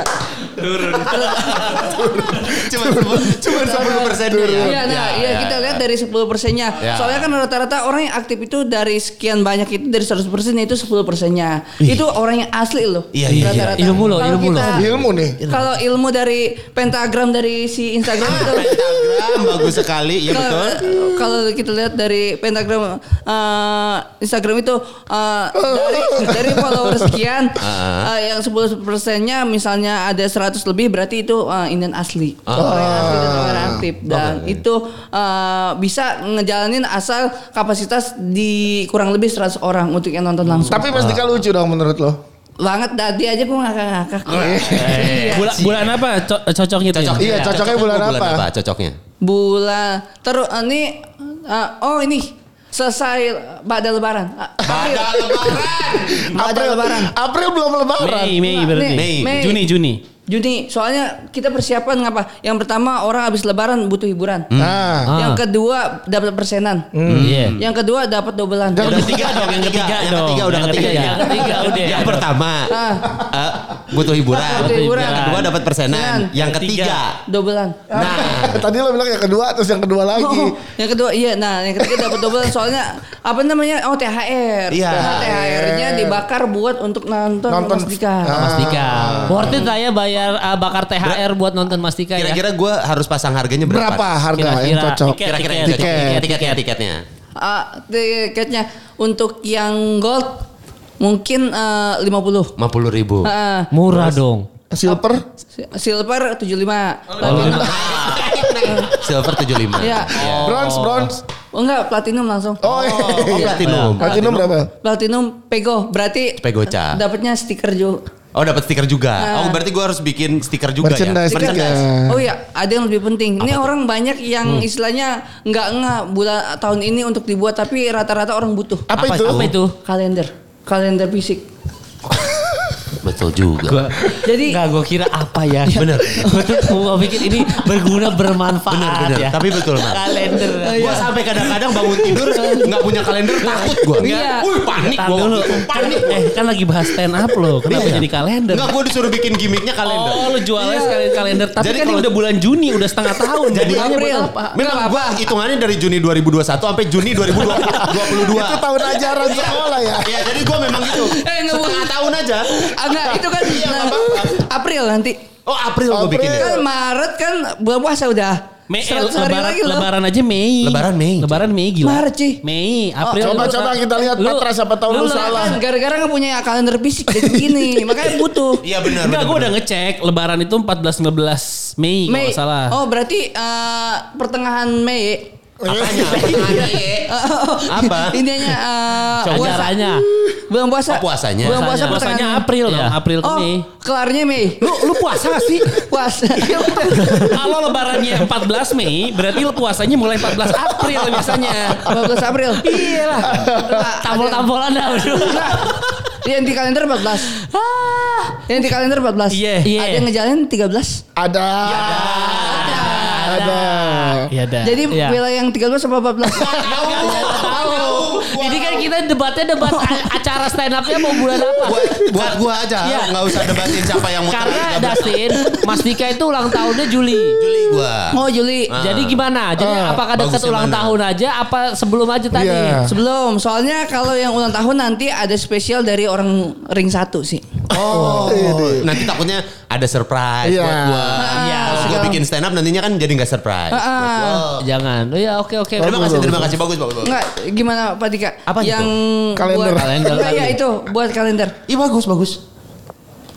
S4: Cuma cuma sepuluh persen.
S1: Iya, nah, iya kita lihat dari 10 persennya.
S4: Ya.
S1: Soalnya kan rata-rata orang yang aktif itu dari sekian banyak itu dari 100 persen itu 10 persennya. Itu orang yang asli loh.
S4: Iya, iya, iya.
S1: rata-rata.
S2: Ilmu loh,
S1: Kalau
S2: ilmu loh.
S1: kita-
S3: Ilmu nih.
S1: Kalau ilmu dari pentagram dari si Instagram itu
S4: Instagram bagus sekali, ya
S1: kalau-
S4: betul.
S1: Kalau kita lihat dari pentagram eh, Instagram itu eh, dari dari follower sekian
S4: Ah.
S1: eh, yang 10 persennya misalnya ada 100 lebih berarti itu eh, Indian asli.
S4: Ah.
S1: Orang yang asli dan orang aktif dan itu eh, bisa ngejalanin asal kapasitas di kurang lebih 100 orang untuk yang nonton langsung.
S3: Tapi Mas Dika lucu dong menurut lo?
S1: banget tadi aja gue ngakak-ngakak.
S4: Ah.
S2: Eh,
S1: Iya.
S5: Bulan, bulan apa co-
S2: ya?
S5: cocoknya Tin?
S4: Cocok.
S3: Iya, cocoknya bulan apa?
S4: Cocoknya.
S1: bulan terus ini eh, oh ini selesai pada lebaran Ah, April.
S4: Ada lebaran.
S1: Pada lebaran
S3: April belum lebaran.
S5: Mei, Mei berarti.
S1: Mei. Mei.
S5: Juni, Juni.
S1: Juni soalnya kita persiapan ngapa yang pertama orang habis lebaran butuh hiburan
S2: Ah.
S3: Nah,
S1: yang kedua dapat persenan
S2: Hmm.
S5: Iya.
S1: yang kedua dapat dobelan
S4: Yang ketiga dong, yang ketiga, yang ketiga udah ketiga.
S2: Yang ketiga udah.
S4: Yang pertama
S1: Ah.
S4: eh, butuh hiburan.
S1: Butuh hiburan.
S4: Yang kedua dapat persenan. Yang ketiga.
S1: dobelan
S4: Nah,
S3: tadi lo bilang yang kedua terus yang kedua lagi.
S1: Oh, yang kedua iya nah yang ketiga dapat dobelan soalnya apa namanya oh THR
S4: Iya.
S1: THR-nya dibakar buat untuk nonton,
S3: Nonton. Nah.
S1: Mas Dika.
S2: Mas
S4: Ah.
S2: Dika. Worth it lah ya bayar uh, bakar THR buat nonton Mas Dika ya.
S4: kira-kira gue harus pasang harganya berapa?
S3: Berapa harga yang cocok?
S5: tiket,
S4: Kira-kira yang
S5: tiket.
S4: cocok.
S3: Tiket.
S4: tiketnya, tiketnya.
S1: Ah, tiketnya untuk yang gold mungkin eh, lima 50.
S4: 50 ribu.
S1: Ah,
S2: Murah dong.
S3: Silver?
S1: si- silver 75. Platinum.
S4: Nah, Silver 75.
S1: Iya.
S3: Bronze, bronze.
S1: Oh enggak, platinum langsung.
S3: Oh,
S4: Oh,
S3: iya.
S4: platinum.
S3: Platinum berapa?
S1: Platinum pego, berarti
S4: Pegoca.
S1: dapatnya stiker juga.
S4: Oh, dapat stiker juga. Oh, berarti gue harus bikin stiker juga
S3: Merchandise.
S4: ya.
S1: Stiker.
S3: Merchandise.
S1: Oh iya, ada yang lebih penting. Ini orang banyak
S2: Hmm.
S1: yang istilahnya nggak nggak bulan tahun ini untuk dibuat, tapi rata-rata orang butuh
S3: Apa, itu?
S2: Apa itu?
S1: kalender, kalender fisik.
S6: Betul juga.
S1: Jadi-
S2: Nggak, gue kira apa ya? Bener. Gue tuh mau pikir ini berguna bermanfaat
S6: Bener, bener.
S2: ya.
S6: Tapi betul, Mak.
S2: Kalender. Iya.
S6: Gue sampai kadang-kadang bangun tidur nggak punya kalender takut gue.
S1: Iya.
S6: Wih panik
S2: Tahan
S6: gue.
S2: dulu.
S6: Panik gue.
S2: Eh kan lagi bahas stand up loh. Kenapa
S6: Iya.
S2: jadi kalender?
S4: Enggak gue disuruh bikin gimmicknya kalender.
S2: Oh lu jualnya sekali kalender. Tapi
S6: Jadi
S2: kan ini
S6: kalau-
S2: udah bulan Juni udah setengah tahun.
S6: Jadi
S2: Bulannya buat
S1: April.
S2: apa?
S1: Memang
S4: Memang gua hitungannya dari Juni 2021 sampai Juni 2022.
S3: Itu tahun ya. ajaran
S4: Iya.
S3: sekolah ya.
S4: Iya, jadi gua memang gitu.
S1: Eh, nggak
S4: Setengah tahun aja.
S1: Ah, enggak, itu kan
S4: Iya,
S1: nah,
S4: nggak apa-apa.
S1: April nanti.
S4: Oh, April gua
S3: April.
S4: bikinnya.
S1: Kan Maret kan bulan puasa udah.
S2: Mei, eh,
S1: 100 hari
S2: lebaran,
S1: lagi loh.
S2: lebaran aja Mei.
S6: Lebaran Mei.
S2: Lebaran Mei gila.
S1: Maret, Ci.
S2: Mei, April.
S3: coba,
S2: Lu-
S3: coba kita lihat, Patra, siapa tahu lu
S1: Kan
S3: salah.
S1: Gara-gara nggak punya kalender fisik jadi gini, makanya butuh.
S4: Iya benar.
S2: Enggak,
S4: benar,
S2: gue
S4: benar.
S2: udah ngecek. Lebaran itu 14-15 Mei, kalau
S1: Mei.
S2: nggak salah.
S1: Oh berarti eh, pertengahan Mei.
S4: Apa?
S1: Intinya eh,
S2: Coba
S1: puasa.
S2: caranya.
S1: Bulan puasa.
S6: Oh, puasanya.
S1: Bulan puasa
S2: Puasanya-
S1: pertengahan.
S2: puasanya April dong,
S6: Iya.
S2: April ke
S1: Oh
S2: Mei.
S1: kelarnya Mei.
S2: Lu, lu puasa gak sih?
S1: Puasa. Ya udah.
S2: Kalau lebarannya 14 Mei, berarti lu puasanya mulai 14 April biasanya.
S1: 14 April.
S2: Iya lah. Tampol-tampolan dah. aduh.
S1: Nah, yang di kalender 14. Yang di kalender 14.
S2: Iya.
S1: Ada yang ngejalanin 13.
S3: Ada.
S2: Ya,
S3: Ada.
S2: Iya dah.
S1: Jadi
S2: Iya.
S1: wilayah yang 13 sama 14.
S6: Tahu.
S2: Ini kan kita debatnya debat a- acara stand up-nya mau bulan apa?
S4: Buat, buat gua aja,
S2: Iya.
S4: nggak usah debatin siapa yang muter.
S2: Karena
S4: Nggak ber-
S2: Dustin, Mas Dika itu ulang tahunnya Juli.
S4: Juli gua.
S1: Oh Juli.
S4: Ah.
S2: Jadi gimana? Jadi
S3: Ah,
S2: apakah dekat
S4: bagusnya
S2: ulang
S4: mana?
S2: tahun aja apa sebelum aja tadi?
S3: Iya.
S1: Sebelum, soalnya kalau yang ulang tahun nanti ada spesial dari orang ring satu sih.
S4: Oh, nanti takutnya ada surprise
S3: Iya.
S4: buat gua.
S1: Iya.
S4: Kalau gua bikin stand up nantinya kan jadi nggak surprise.
S1: Ah, ah.
S4: Buat gua.
S2: Jangan. Oh, ya oke oke.
S4: Terima kasih, terima kasih. Bagus, bagus, bagus.
S1: Enggak, gimana Pak Dika?
S6: Apa itu?
S1: yang
S3: Kalender.
S1: Buat,
S2: Kalender.
S1: Enggak, ya itu buat kalender.
S4: Ih, bagus, bagus.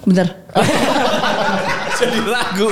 S1: Bentar.
S2: jadi ragu.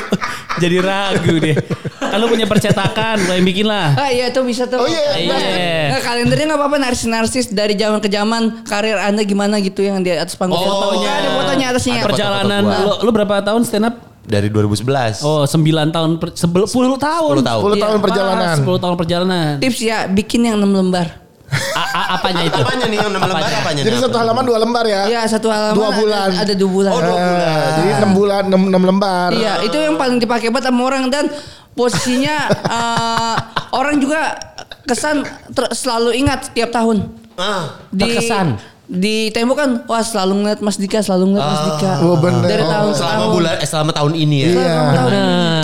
S2: Jadi ragu deh. Kalau punya percetakan, lo yang bikin lah.
S1: Ah iya itu bisa tuh.
S3: Oh, iya.
S2: Iya.
S1: Nah, kalendernya nggak apa-apa narsis-narsis dari zaman ke zaman karir anda gimana gitu yang di atas panggung.
S4: Oh,
S1: Nggak ada
S2: iya.
S1: fotonya atasnya.
S4: Ada foto.
S2: Perjalanan
S4: Foto-foto
S2: lo, lo berapa tahun stand up?
S4: Dari 2011.
S2: Oh, 9 tahun per, sebel, 10 tahun.
S4: 10 tahun.
S3: 10 tahun
S2: Wah,
S3: perjalanan.
S2: 10 Iya, tahun perjalanan.
S1: Tips ya bikin yang 6 lembar.
S2: A- a- apanya itu?
S4: Apanya nih yang enam lembar apanya?
S3: Jadi
S4: nih?
S3: satu halaman dua lembar ya.
S1: Iya satu halaman.
S3: Dua
S1: ada-
S3: bulan.
S1: Ada, dua bulan.
S4: Oh, dua
S3: Eh,
S4: bulan.
S3: Jadi enam bulan, enam enam lembar.
S1: Iya itu yang paling dipakai banget sama orang dan posisinya eh, orang juga kesan ter- selalu ingat setiap tahun.
S4: Ah.
S2: Terkesan.
S1: Di tembok kan wah selalu ngeliat Mas Dika, selalu ngeliat Mas Dika.
S3: Oh, bener.
S1: Dari
S3: Oh,
S1: tahun ke
S4: Selama
S1: tahun.
S4: bulan, eh, selama tahun ini ya.
S3: Iya.
S1: tahun.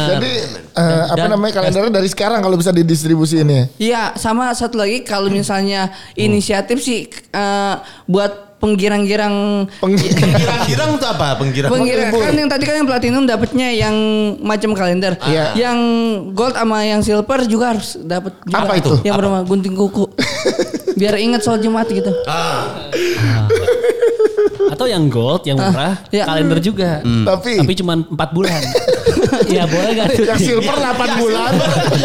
S3: Jadi eh, apa namanya kalendernya dari sekarang kalau bisa didistribusi ini.
S1: Iya, sama satu lagi kalau misalnya
S3: Hmm.
S1: inisiatif sih eh, buat penggirang-girang
S4: Penggirang-girang tuh apa? Penggirang.
S1: penggirang kan yang tadi kan yang platinum dapatnya yang macam kalender.
S3: Iya.
S1: Yang gold sama yang silver juga harus dapat juga.
S3: Apa itu?
S1: Yang bernama gunting kuku. Biar ingat soal Jumat gitu.
S2: Atau yang gold, yang murah,
S1: iya.
S2: kalender juga.
S3: Tapi,
S2: Tapi cuma 4 bulan. ya boleh gak tuh?
S3: yang silver 8 bulan.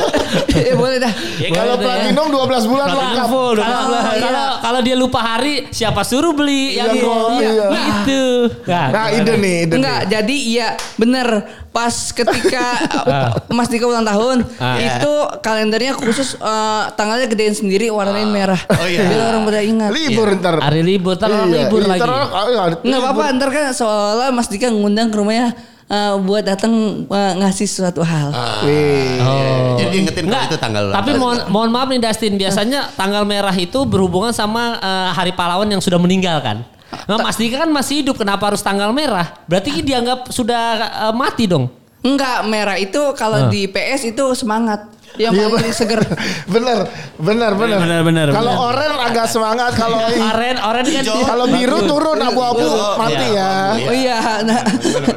S1: ya boleh dah.
S2: Ya,
S3: Kalau kan
S2: boleh deh.
S3: platinum 12 bulan
S2: Kalau
S3: lengkap.
S2: full,
S1: Kalau-
S2: kalau kalau
S1: iya.
S2: kalau dia lupa hari, siapa suruh beli
S3: Iya,
S2: yang
S3: kok,
S2: iya.
S3: iya.
S2: gitu.
S3: Nah, ide nih, ide nih.
S1: Enggak, jadi iya bener pas ketika uh, Mas Dika ulang tahun
S2: Ah.
S1: itu kalendernya khusus uh, tanggalnya gedein sendiri
S2: Ah.
S3: Ah.
S1: warnain merah.
S4: Oh, iya.
S1: Biar orang pada ingat.
S3: Libur ntar.
S2: Hari libur, ntar orang
S3: Iya,
S2: libur
S3: ntar
S2: lagi. Oh.
S3: orang- ah, iya,
S1: Nggak
S3: libur.
S1: apa-apa ntar kan seolah Mas Dika ngundang ke rumahnya uh, buat datang uh, ngasih sesuatu hal.
S3: Ah. Wih.
S4: Oh. Jadi ingetin kalau
S2: Nggak,
S4: itu tanggal ulang
S2: Tapi
S4: tahun.
S2: mohon, mohon maaf nih Dustin, biasanya tanggal merah itu berhubungan sama eh, hari pahlawan yang sudah meninggal kan. Nah, Mas Dika kan masih hidup, kenapa harus tanggal merah? Berarti dianggap sudah eh, mati dong.
S1: Enggak, merah itu kalau di PS itu semangat. Yang
S3: Iya,
S1: paling seger.
S3: Bener, bener, bener.
S2: bener, bener,
S3: Kalau
S2: bener.
S3: oren agak semangat, kalau
S2: Oren, oren kan
S4: Hijau.
S3: kalau biru turun abu-abu
S4: Hijau.
S3: Oh, mati
S4: Iya,
S1: Oh
S3: ya.
S2: Ah,
S1: iya, nah.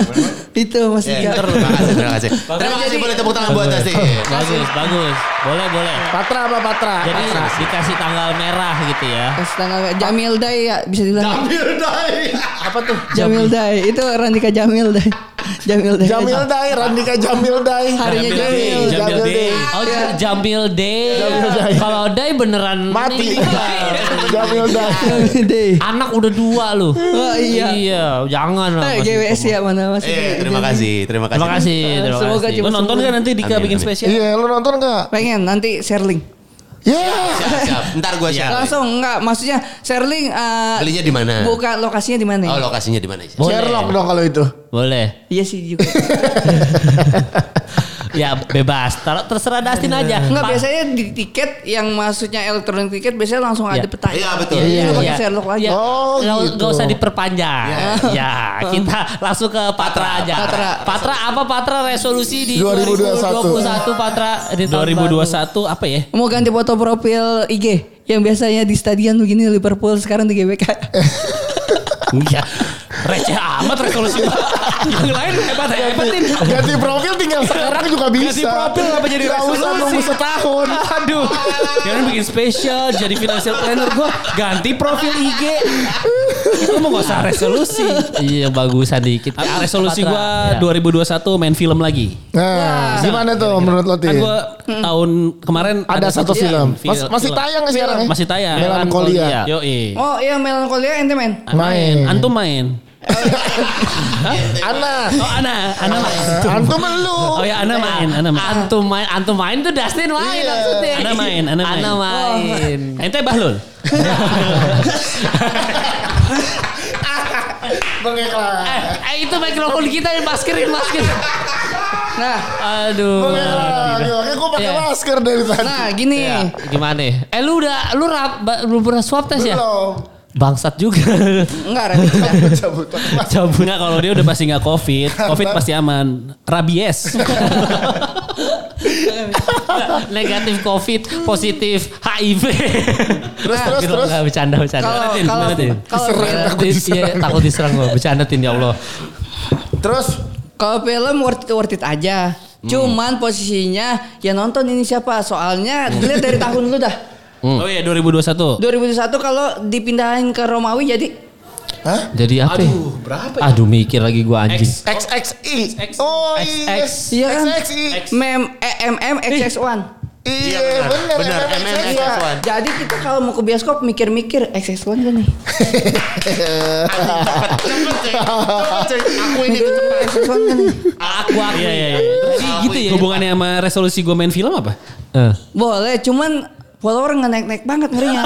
S1: itu Mas
S4: Iya,
S1: Dika.
S4: Terima kasih, terima kasih. Terima kasih boleh tepuk tangan buat Dustin.
S2: Bagus, bagus. Boleh, boleh.
S3: Patra apa Patra?
S2: Jadi dikasih tanggal merah gitu ya.
S1: Kasih tanggal Jamil Day ya bisa dibilang.
S4: Ambil dai.
S3: apa tuh?
S1: Jamil Day itu Randika Jamil Day. Jamil Day.
S3: Jamil Dai, Randika Jamil Dai.
S1: Harinya
S2: Jamil
S1: Jamil.
S2: Day, Jamil Day. Oh, J- Jamil Day. Kalau Day beneran
S3: Mati.
S2: meninggal.
S3: Jamil Dai.
S1: Jamil Day.
S3: Eh.
S2: Anak udah dua loh.
S1: Oh, iya.
S2: Iya, jangan lah.
S1: Eh,
S2: Mas Dika.
S1: GWS ya mana Mas?
S4: Eh, terima kasih, terima kasih.
S2: Terima kasih. Terima
S1: Semoga
S2: kasih.
S1: cuma
S2: Lo nonton
S1: sebulan.
S2: kan nanti Dika
S4: Amin,
S2: bikin
S4: amin.
S2: spesial?
S3: Iya, lu nonton gak?
S1: Pengen nanti share link.
S3: Ya.
S4: Siap, siap. Ntar gue
S2: Iya.
S4: share.
S1: Langsung enggak maksudnya Sherling eh,
S4: Belinya di mana?
S1: buka lokasinya di mana? ya?
S4: Oh lokasinya di mana?
S5: Boleh.
S3: Sherlock dong kalau itu.
S5: Boleh.
S1: Iya sih juga.
S5: Ya bebas. Taruh- Terserah Dustin aja.
S1: Enggak
S5: Pak.
S1: biasanya di tiket yang maksudnya elektronik tiket biasanya langsung ada
S5: Iya.
S1: peta.
S4: Iya, betul.
S1: Jadi
S4: Iya,
S1: lu pakai
S5: iya.
S1: Sherlock lagi.
S5: Ya,
S3: Oh,
S5: nggak
S3: gitu.
S5: nggak usah diperpanjang. Ya, kita langsung ke Patra aja.
S1: Patra.
S5: Patra apa Patra resolusi di
S3: 2021?
S5: 2021 Patra di tahun
S2: 2021 apa ya?
S1: Mau ganti foto profil IG yang biasanya di stadion begini Liverpool sekarang di GBK.
S4: Eh.
S5: Iya. Receh amat resolusi. Yang lain hebat hebatin.
S3: Ganti profil tinggal sekarang juga bisa.
S5: Ganti profil apa jadi
S3: Nggak usah
S5: resolusi?
S3: nunggu setahun.
S5: Aduh. Jangan bikin spesial jadi financial planner gua ganti profil IG. Lu mau gak usah resolusi.
S2: Iya bagusan dikit. Iya.
S5: Ah,
S2: resolusi
S5: Patra.
S2: gua 2021 main film lagi.
S3: Nah, gimana tuh menurut lo
S5: Kan
S3: Tin?
S5: gua tahun kemarin
S3: Ada satu film. Mas- masih tayang nggak sekarang ya?
S5: Masih tayang.
S3: Melankolia.
S5: Yo,
S1: Oh, iya melankolia ente men.
S5: main.
S3: Main.
S5: Antum main.
S3: Ana.
S5: Oh, Ana, Ana main.
S3: Antum lu.
S5: Oh ya, Ana main, Ana main.
S2: Antum main, antum main tuh Dustin main
S3: Iya.
S2: maksudnya.
S5: Ana main, Ana main.
S2: Ana main.
S1: Oh.
S5: Hmm. Ente Bahlul.
S3: Mengeklan.
S2: Eh, eh, itu mikrofon kita dimasukin maskerin
S1: Nah,
S2: Aduh.
S3: Mengeklan. Ya, Makanya gue pakai masker dari tadi.
S1: nah gini.
S4: Iya.
S5: Gimana?
S2: Ya, Eh lu udah lu rap, ba- belum pernah swab tes ya?
S3: Belum.
S5: Bangsat juga.
S1: Enggak Radit.
S3: Cabut.
S5: Cabut. Nggak, kalau dia udah pasti nggak covid. Covid pasti aman. Rabies.
S2: Negatif COVID, positif HIV.
S3: Terus
S2: Nah,
S3: terus
S5: Gila,
S3: terus.
S5: nggak, bercanda, bercanda.
S1: Kalau
S5: Gimana, Tin?
S1: kalau
S5: Gimana, Tin?
S1: kalau
S5: Tin, iya, takut diserang gua. Bercanda Tin, ya Allah.
S3: Terus
S1: Kalau film worth it, worth it aja.
S4: Hmm.
S1: Cuman posisinya ya nonton ini siapa? Soalnya dilihat dari tahun lu dah.
S5: Oh iya 2021.
S1: 2001 kalau dipindahin ke Romawi jadi
S5: Jadi apa? ya?
S3: berapa
S5: Aduh mikir lagi gua anjing.
S3: XXI. Oh iya.
S5: XX.
S1: Iya kan?
S3: XXI.
S1: mem MM XX1.
S3: Iya benar.
S4: benar.
S3: MMXX.
S4: Iya.
S1: Iya. Jadi kita kalau mau ke bioskop mikir-mikir XX1 gak nih?
S4: Cepet cuy. Cepet cuy. Aku ini tuh cepet.
S1: XX1 gak nih?
S5: Aku aku. Iya iya. iya. Jadi gitu ya. Hubungannya sama resolusi gua main film apa? Eh.
S1: Boleh, cuman follower nggak naik-naik banget ngerinya.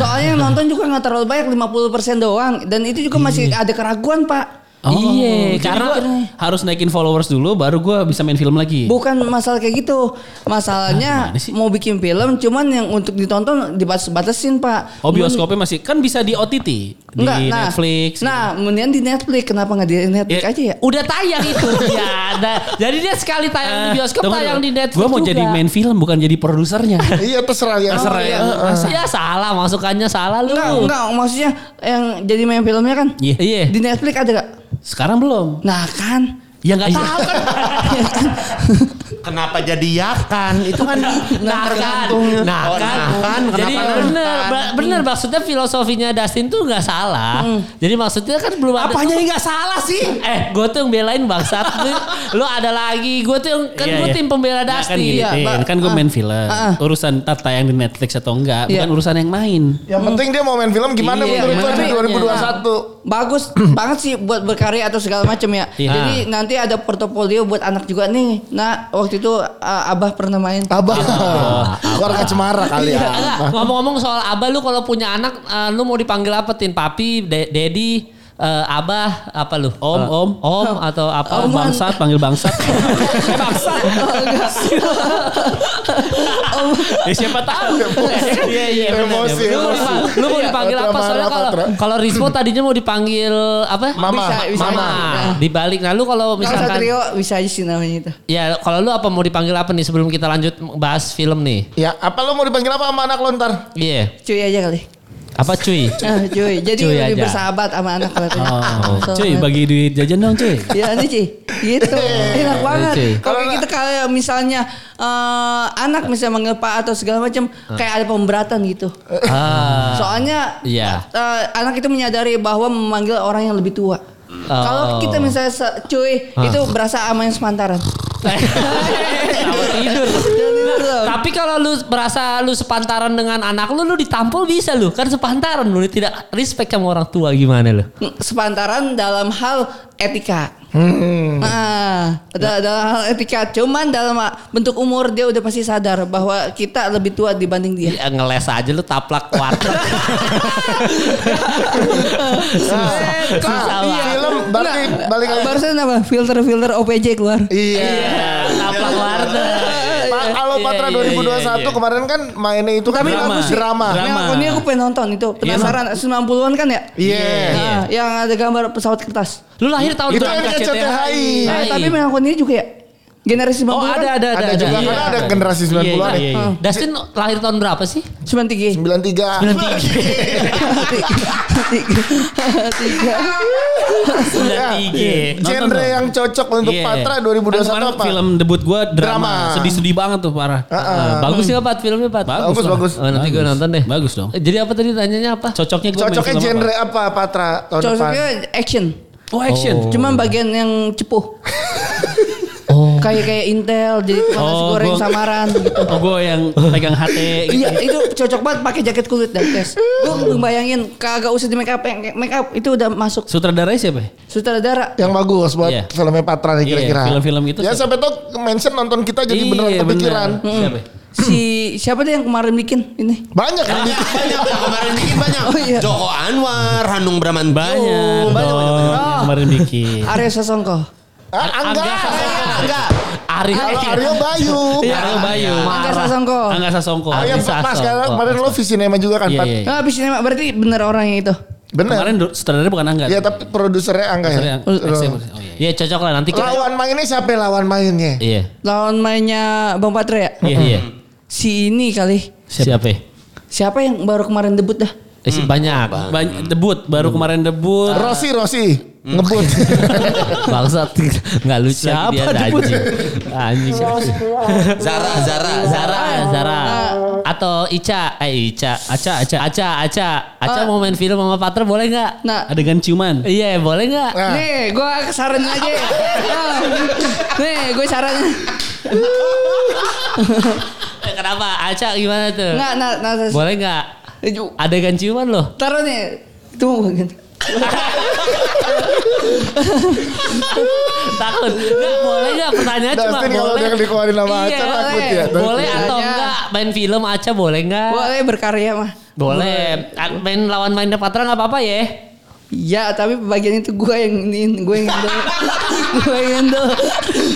S1: Soalnya yang nonton juga nggak terlalu banyak, 50% doang. Dan itu juga masih ada keraguan, Pak.
S5: iya,
S2: jadi
S5: karena
S2: gua
S5: harus naikin followers dulu baru gua bisa main film lagi. Oh,
S1: Bukan masalah kayak gitu.
S5: Ah,
S1: Masalahnya mau bikin film cuman yang untuk ditonton dibatas-batasin, Pak.
S5: Oh bioskopnya masih kan bisa di OTT di
S1: Enggak, nah,
S5: Netflix. gitu.
S1: Nah, kemudian di Netflix kenapa nggak di Netflix aja ya?
S2: Udah tayang itu. ya, ada. Jadi dia sekali tayang di bioskop, tayang di Netflix
S5: Gue mau
S2: juga.
S5: jadi main film bukan jadi produsernya.
S3: Iya terserah ya.
S5: Terserah ya.
S2: Ya salah, masukannya salah lu.
S1: Enggak, enggak, maksudnya yang jadi main filmnya kan
S5: Iya. Iya.
S1: di Netflix ada gak?
S5: Sekarang belum.
S1: Nah kan, Iya
S5: Ya nggak tahu kan.
S4: Kenapa jadi yakan? Itu kan
S2: Nah kan,
S4: tergantungnya.
S2: nah
S4: Oh,
S2: kan,
S4: nah kan.
S2: jadi
S4: Kenapa nah
S2: bener,
S4: kan?
S2: ba- bener maksudnya filosofinya Dustin tuh nggak salah. Jadi maksudnya kan belum ada.
S5: Hmm. Apanya yang nggak salah sih?
S2: Eh, gue tuh yang belain bangsat. lu, lu ada lagi. Gue tuh yang, kan
S5: Iya,
S2: gue
S5: iya.
S2: tim pembela
S5: Nah, kan
S2: Dustin.
S5: gini,
S1: Iya,
S5: Tin.
S1: Mbak.
S5: kan gue main film.
S1: Ah, ah.
S5: Urusan ntar tayang di Netflix atau enggak,
S1: Iya.
S5: bukan urusan yang main.
S3: Yang penting dia mau main film gimana menurut
S5: Iya,
S3: lo
S5: gimana
S3: di
S5: filmnya?
S3: 2021?
S1: bagus banget sih buat berkarya atau segala macam ya.
S5: Iya.
S1: Jadi nanti ada portofolio buat anak juga nih. Nah waktu itu uh, abah pernah main.
S3: Abah. Warga Cemara kali ya.
S2: Enggak, ngomong-ngomong soal abah lu kalau punya anak eh, lu mau dipanggil apa tin? Papi, de- dedi, eh, abah, apa lu?
S5: Om,
S2: Eh,
S5: om.
S2: Om atau apa?
S1: Om. Oman.
S5: bangsat, panggil bangsat. bangsat.
S1: Oh,
S5: ya siapa tahu. Iya, iya. benar.
S3: Emosi,
S5: Lu mau
S3: emosi.
S5: dipang-
S2: Lu mau dipanggil
S3: Patra
S2: apa? Soalnya
S3: marah,
S2: kalau
S3: Patra.
S2: kalau Rispo tadinya mau dipanggil apa?
S3: Mama.
S1: Bisa, bisa.
S2: Mama. Dibalik. Nah, lu kalau
S1: Kalau
S2: misalkan
S1: Satrio bisa aja sih namanya itu.
S2: Ya, kalau lu apa mau dipanggil apa nih sebelum kita lanjut bahas film nih?
S3: Ya, apa lo mau dipanggil apa sama anak lo ntar?
S2: Iya.
S1: Cuy aja kali.
S2: Apa cuy?
S1: Ah, cuy. Jadi
S2: Cuy
S1: lebih
S2: aja.
S1: bersahabat sama anak kelihatannya.
S5: Oh,
S1: So,
S5: cuy,
S1: man.
S5: bagi duit jajan dong, cuy.
S1: Ya ini Ci. Gitu. Enak banget.
S2: Ci.
S1: Kalau kayak gitu kalau misalnya eh, anak misalnya manggil Pak atau segala macam kayak ada pemberatan gitu.
S2: Ah.
S1: Soalnya
S2: Iya.
S1: eh, anak itu menyadari bahwa memanggil orang yang lebih tua.
S5: Oh.
S1: Kalau kita misalnya se- cuy
S5: Ah.
S1: itu berasa sama yang sepantaran.
S2: Tahu tidur.
S1: Nah,
S2: Tapi kalau lu merasa lu sepantaran dengan anak lu, lu ditampol bisa lu. Kan sepantaran lu tidak respect sama orang tua gimana lu.
S1: sepantaran dalam hal etika.
S3: Hmm.
S1: Nah,
S3: Ya.
S1: ada ada hal etika. Cuman dalam bentuk umur dia udah pasti sadar bahwa kita lebih tua dibanding dia.
S3: Iya.
S2: Ya, ngeles aja lu taplak warteg.
S3: Ah, iya, film berarti balik lagi.
S1: Nah, Barusan apa? Filter-filter OPJ keluar.
S3: Iya.
S2: taplak warteg. Iya,
S3: Pa- Kalau Patra 2021 kemarin kan mainnya itu kan
S1: Tapi
S3: drama.
S1: bagus sih. Iya,
S3: drama.
S1: Yang Nah, aku ini aku pengen nonton itu
S2: Iya,
S1: penasaran 90-an kan ya?
S3: Iya.
S1: Nah, yang ada gambar pesawat kertas.
S2: Lu lahir tahun
S3: Itu
S2: berapa,
S3: NKCTHI.
S2: CTHI?
S1: Nah, tapi memang aku ini juga ya generasi 90-an.
S2: Iya, Oh ada ada ada.
S3: Ada juga
S2: Iya.
S3: karena ada generasi 90-an
S2: Iya,
S3: ya.
S2: iya, iya. Dustin lahir tahun berapa sih?
S1: 93.
S3: 93.
S1: Tiga.
S2: 93. Nonton
S3: Iya. Genre
S2: dong.
S3: yang cocok untuk
S2: Iya.
S3: Patra
S2: Kan
S3: 2021
S2: kemarin
S3: apa?
S2: Film debut gue drama.
S3: Drama.
S2: Sedih-sedih banget tuh parah.
S3: Heeh.
S2: Eh, bagus ya Pat filmnya Pat.
S3: Bagus,
S2: lah.
S3: bagus.
S2: Oh, nanti gue
S7: Bagus.
S2: nonton deh.
S7: Bagus dong.
S2: Eh, Jadi apa tadi tanyanya apa?
S7: Cocoknya gue
S3: Cocoknya genre apa Patra tahun depan?
S1: Cocoknya action.
S7: Oh action.
S1: Cuman bagian yang cepuh. Kayak kayak Intel jadi tukang nasi
S7: Oh,
S1: goreng
S7: gua-
S1: samaran gitu.
S7: Oh gue yang pegang HT gitu.
S1: Iya, itu cocok banget pakai jaket kulit dan tes. Gua belum bayangin kagak usah di make up, make up itu udah masuk
S7: Sutradaranya siapa? ya?
S1: sutradara.
S3: Yang bagus buat
S7: Iya.
S3: filmnya Patra nih
S7: Iya,
S3: kira-kira.
S7: film-film itu
S3: Ya
S7: siapa?
S3: sampai tuh mention nonton kita jadi beneran
S7: Iya, bener.
S3: kepikiran.
S7: Siapa? ya?
S1: Hmm. Si siapa tuh yang kemarin bikin ini?
S3: Banyak yang bikin.
S4: banyak yang kemarin bikin banyak.
S1: Oh, iya.
S4: Joko Anwar, Hanung Bramantyo.
S2: Banyak dong.
S4: banyak, banyak, banyak.
S2: Yang
S1: Oh.
S2: Kemarin bikin.
S1: Arya Sasongko.
S3: Ah, Angga, Angga, Angga.
S2: Arif.
S3: Kalau Aryo Bayu.
S7: Iya,
S2: Iya,
S3: Ah.
S7: Aryo Bayu.
S1: Angga Sasongko.
S7: Angga Sasongko.
S3: Oh ya,
S7: Ardi
S3: pas sekarang
S7: Sasongko.
S3: kemarin lo visi nema juga kan,
S7: Iya,
S3: Pat?
S7: iya, iya.
S1: Nah, habis ini Mak, berarti bener orangnya itu.
S3: Bener.
S7: Kemarin du- sutradaranya bukan
S2: kan.
S7: Angga.
S3: Ya tapi produsernya Angga ya.
S7: Sutradaranya Ang-
S3: Terus.
S7: Oh, iya, iya.
S2: Ya cocok lah nanti kita.
S3: Lawan mainnya siapa ya lawan mainnya?
S7: Iya.
S1: Lawan mainnya Bang Patra ya?
S7: Iya. Iya.
S1: Si ini kali.
S7: Siapa? ya?
S1: Siapa yang baru kemarin debut dah?
S7: Eh, sih banyak. Banyak debut baru kemarin
S2: Iya.
S7: debut.
S3: Rossi, Rossi. Ngebut.
S7: Bangsat nggak lucu
S2: Siapa
S7: lagi dia ada
S2: debut?
S7: anjing. Anjing.
S4: Zara, Zara, Zara.
S2: Zara, Zara. Atau Ica, eh Ica.
S7: Aca, Aca.
S2: Aca, Aca. Aca
S1: Ah.
S2: mau main film sama Patra boleh nggak?
S1: Nah,
S7: Adegan ciuman.
S2: Iya, boleh nggak?
S3: Nah.
S1: Nih, gue saran aja. Ah. Nih, gue saran.
S2: Eh, Kenapa? Aca gimana tuh?
S1: Nggak, nah, nah,
S2: Boleh nggak?
S1: Ju-
S2: Adegan ciuman loh.
S1: Taruh nih. Tunggu.
S2: Takut. Nggak boleh nggak? Pertanyaan cuma
S3: Dustin kalau
S2: boleh.
S3: dia kan dikeluarin nama
S2: Iya,
S3: Aca takut ya.
S1: boleh.
S2: Boleh atau
S1: Tanya.
S2: enggak main film Aca boleh nggak?
S1: Boleh eh, berkarya mah.
S2: Boleh. Ah, Main lawan main Patra nggak apa-apa ya?
S1: Iya, tapi bagian itu gue yang ini, gue yang handle. gue yang handle.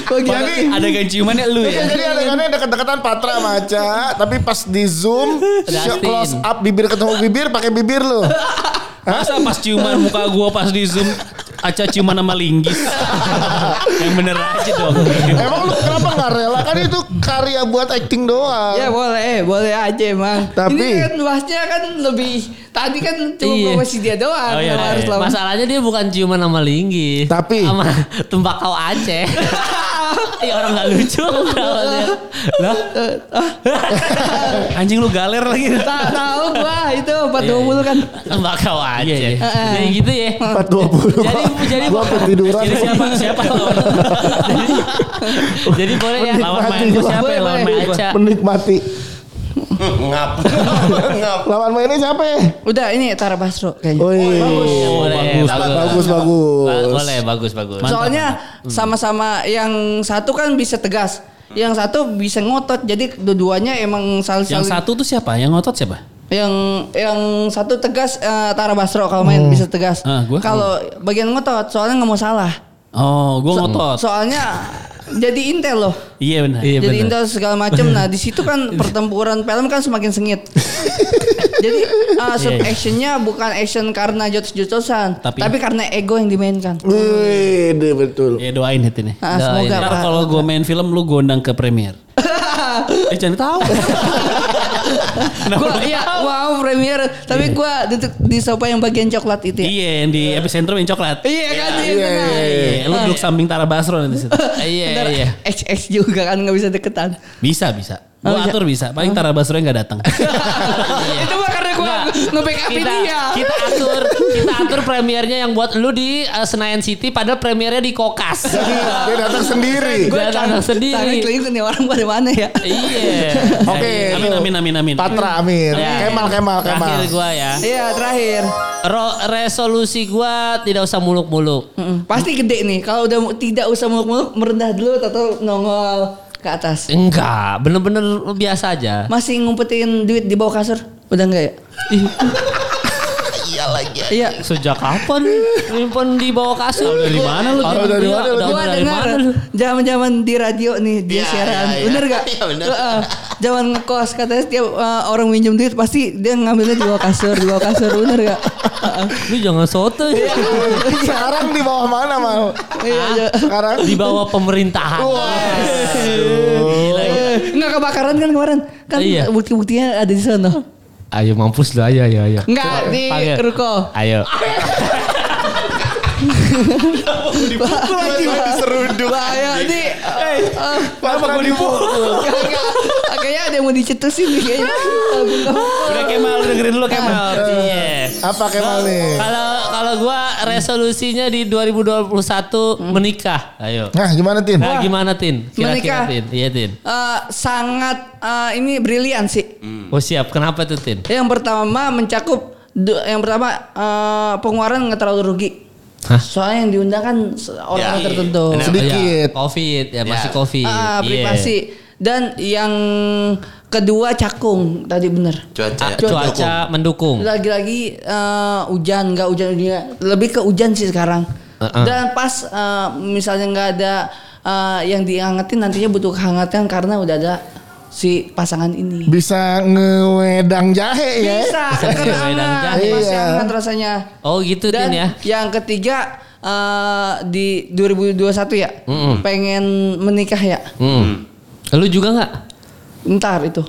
S1: Bagian
S3: Jadi
S7: Adegan ciumannya lu ya.
S3: Jadi adegannya dekat-dekatan Patra sama Aca, tapi pas di zoom,
S2: Dustin.
S3: close up bibir ketemu bibir pakai bibir lu.
S7: Masa pas ciuman muka gua pas di zoom Aca ciuman sama linggis. Yang bener aja dong.
S3: Emang lu kenapa nggak rela? Kan itu karya buat acting doang.
S1: Ya boleh, boleh aja emang.
S3: Tapi-
S1: ini kan bahasnya kan lebih tadi kan cuma
S2: Iya.
S1: gua masih dia doang
S7: Oh, iya,
S1: yang
S7: iya,
S1: harus
S7: iya.
S1: lawan.
S2: Masalahnya dia bukan ciuman sama linggis.
S3: Tapi-
S2: sama tembakau Aceh. ya orang nggak lucu. namanya.
S7: Lah? Anjing lu galer lagi.
S1: Tak tahu gua itu 420 kan.
S2: tembakau Aceh.
S7: Iya, iya.
S2: Jadi gitu ya.
S3: 420.
S2: Jadi jadi
S3: gua ketiduran.
S7: Jadi siapa siapa lawan?
S2: jadi boleh ya.
S7: lawan main gua siapa ya lawan main gua?
S2: Aca.
S3: Menikmati.
S4: Ngap. Ngap.
S3: Lawan mainnya siapa ya?
S1: Udah ini Tara Basro kayaknya.
S7: Oh,
S3: Woi.
S2: Boleh,
S3: Bagus,
S2: Ba-
S3: bagus.
S2: Boleh, bagus, bagus.
S1: Soalnya
S7: Hmm.
S1: sama-sama yang satu kan bisa tegas, yang satu bisa ngotot. Jadi dua-duanya emang saling
S7: Yang
S1: saling-
S7: satu tuh siapa? Yang ngotot siapa?
S1: yang yang satu tegas eh, Tara Basro kalau main bisa tegas.
S7: Ah, gua?
S1: kalau bagian ngotot soalnya nggak mau salah.
S7: Oh, gua ngotot.
S1: Soalnya jadi intel loh.
S7: Iya benar.
S1: jadi
S2: Iya, bener.
S1: intel segala macam. Nah di situ kan pertempuran film kan semakin sengit. jadi
S7: Iya,
S1: uh, sub actionnya bukan action karena jotos-jotosan, tapi,
S7: Tapi- Nah,
S1: karena ego yang dimainkan.
S3: Wih, deh, betul.
S7: Ya doain hati nih.
S1: Ah, semoga
S7: Ntar
S1: Pak.
S7: kalau gua main film lu gua undang ke premier. eh jangan tahu.
S1: Gua iya wow premier, tapi gua duduk di sofa yang bagian coklat itu. ya.
S7: Iya, yang di epicentrum yang coklat.
S1: Iya kan iya,
S3: Iya,
S1: benar.
S3: iya,
S7: Iya, lu duduk samping Tara Basro nanti situ.
S2: Iya,
S1: Ntar
S2: iya.
S1: XX juga kan nggak bisa deketan.
S7: Bisa, bisa.
S1: Oh,
S7: Gua
S1: bisa.
S7: atur bisa. Paling Tara Basro yang gak datang.
S1: Itu mah karena gue
S2: Nggak.
S1: nge-backup
S2: kita,
S1: dia.
S2: kita atur kita atur premiernya yang buat lu di eh, Senayan City padahal premiernya di Kokas.
S3: Jadi dia datang sendiri.
S2: Gue datang
S1: Tarik
S2: sendiri.
S1: lagi nih orang pada mana ya?
S2: Iya.
S3: Oke.
S7: Amin,
S3: itu.
S7: amin, amin, amin.
S3: Patra amin.
S2: Ya.
S3: Kemal Kemal Kemal.
S2: Terakhir gua ya.
S1: Iya terakhir.
S2: Ro- resolusi gua tidak usah muluk-muluk.
S1: Mm-mm. Pasti gede nih. Kalau udah mu- tidak usah muluk-muluk merendah dulu atau nongol ke atas.
S2: Enggak, bener-bener biasa aja.
S1: Masih ngumpetin duit di bawah kasur? Udah enggak ya? Iya lagi. Iya.
S2: Sejak kapan nyimpen di bawah kasur?
S7: Tahu dari mana lu?
S2: Tahu
S3: Tahu dari mana lu?
S2: tahu
S1: Gua
S2: dari
S1: dengar
S2: mana lu?
S1: zaman-zaman di radio nih dia
S4: Iya,
S1: siaran.
S4: iya, iya.
S1: Bener gak?
S4: Iya, bener.
S1: Heeh. Zaman ngekos katanya setiap eh, orang minjem duit pasti dia ngambilnya di bawah kasur, di bawah kasur. Bener gak? Heeh.
S2: Lu jangan soto ya.
S3: Sekarang di bawah mana mau?
S1: Iya, iya.
S3: Sekarang
S2: Di bawah pemerintahan. Gila, gila.
S1: Eh, Nggak kebakaran kan kemarin? Kan
S2: Iya.
S1: bukti-buktinya ada di sana.
S5: Ayo mampus lu ayo ayo ayo.
S1: Enggak di
S5: Panggil.
S7: Oh.
S1: ruko.
S5: Ayo.
S1: Aku lagi
S3: diseruduk.
S1: Bahaya nih. Eh,
S3: Patra dipukul.
S1: Kagak. Ah, Kayaknya ada yang mau dicetusin nih kayaknya.
S7: Udah Kemal, dengerin dulu
S1: Ah,
S7: Kemal.
S2: Iya.
S3: Apa Kemal nih?
S2: Kalau kalau gua resolusinya di 2021 menikah. Ayo.
S3: Nah gimana Tin?
S2: Nah, gimana Tin?
S1: Menikah.
S2: Kira-kira Tin. Iya Tin.
S1: Eh, sangat eh, ini brilian sih.
S2: Oh siap. Kenapa tuh Tin?
S1: Yang pertama mencakup du- yang pertama eh, pengeluaran nggak terlalu rugi.
S2: Hah?
S1: Soalnya yang diundang kan se- orang
S4: Ya,
S1: tertentu.
S2: Kenapa?
S3: Oh, Sedikit.
S2: Ya, Covid ya, masih
S4: Ya.
S2: Covid.
S1: Ah,
S2: Iya.
S1: privasi. Dan yang kedua cakung tadi bener.
S4: Cuaca.
S2: Ah, cuaca mendukung.
S1: Lagi-lagi eh, hujan, nggak hujan hujan lebih ke hujan sih sekarang.
S2: Uh-uh.
S1: Dan pas eh, misalnya nggak ada eh, yang dihangatin nantinya butuh kehangatan karena udah ada si pasangan ini.
S3: Bisa ngewedang jahe ya?
S1: Bisa,
S2: Bisa
S1: karena
S2: sesuai dan
S1: hangat,
S2: jahe.
S1: masih
S3: Iya.
S1: hangat rasanya.
S2: Oh gitu
S1: Dan
S2: Tin ya.
S1: yang ketiga eh, di 2021 ya, pengen menikah ya.
S2: Hmm. Lu juga nggak? Eh,
S1: Ntar itu.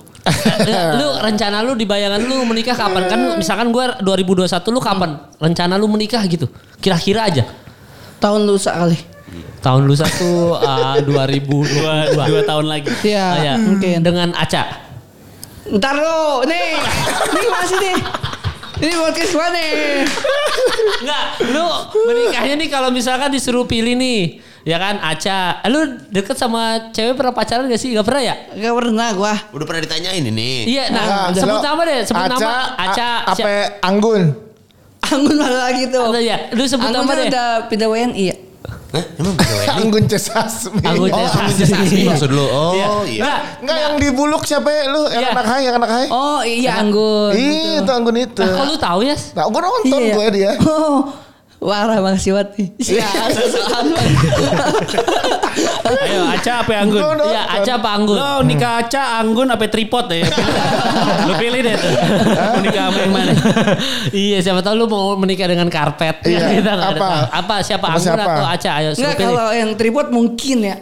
S2: lu rencana lu di bayangan lu menikah kapan kan misalkan gua 2021 lu kapan rencana lu menikah gitu kira-kira aja
S1: Tahun lusa kali.
S2: tahun lu satu ah, 2022
S7: Dua, dua tahun lagi.
S1: Iya,
S2: Ah, ya.
S1: mungkin.
S2: dengan Aca
S1: Ntar lo, nih, ini masih nih. Ini podcast gue nih.
S2: enggak lu menikahnya nih kalau misalkan disuruh pilih nih ya kan Aca Eh, lu deket sama cewek pernah pacaran gak sih gak pernah ya
S1: Gak pernah gua.
S4: Udah pernah ditanyain ini.
S2: iya
S3: Nah,
S2: nah, sebut
S3: lo-
S2: nama deh sebut nama Aca
S3: A- Ape Anggun.
S1: Anggun mana lagi tuh.
S2: Siapa- ya lu sebut
S1: Anggun
S2: nama
S1: kan
S2: deh
S1: udah pindah WNI ya.
S4: Hah? Emang bukan WNI?
S3: Anggun Cesasmi.
S2: Anggun
S3: Oh,
S2: Cesasmi.
S4: Anggun Cesasmi maksud lu. Oh
S2: Iya.
S4: iya.
S2: Nah,
S3: Enggak yang dibuluk siapa ya lu? Yang
S2: Iya. gitu.
S3: anak hai, yang anak hai.
S1: Oh iya Anggun.
S3: Ih, itu Anggun itu.
S2: kok lu tahu ya
S3: Nah, gue nonton
S1: Iya.
S3: gue dia.
S1: Oh. Warah makasih banget nih. Iya.
S7: Ayo, Aca apa Anggun?
S3: Gua nonton.
S2: Iya, Aca apa Anggun?
S7: Lo nikah Aca, Anggun apa tripod ya? Lo pilih deh tuh. Mau nikah sama yang mana?
S2: iya, siapa tahu lu mau menikah dengan karpet.
S3: Iya.
S2: Kita nggak ada
S3: Apa?
S2: tahu. Apa siapa
S3: Apa
S2: Anggun
S3: siapa?
S2: atau Aca? Ayo suruh
S1: Enggak
S2: pilih.
S1: kalau yang tripod mungkin ya.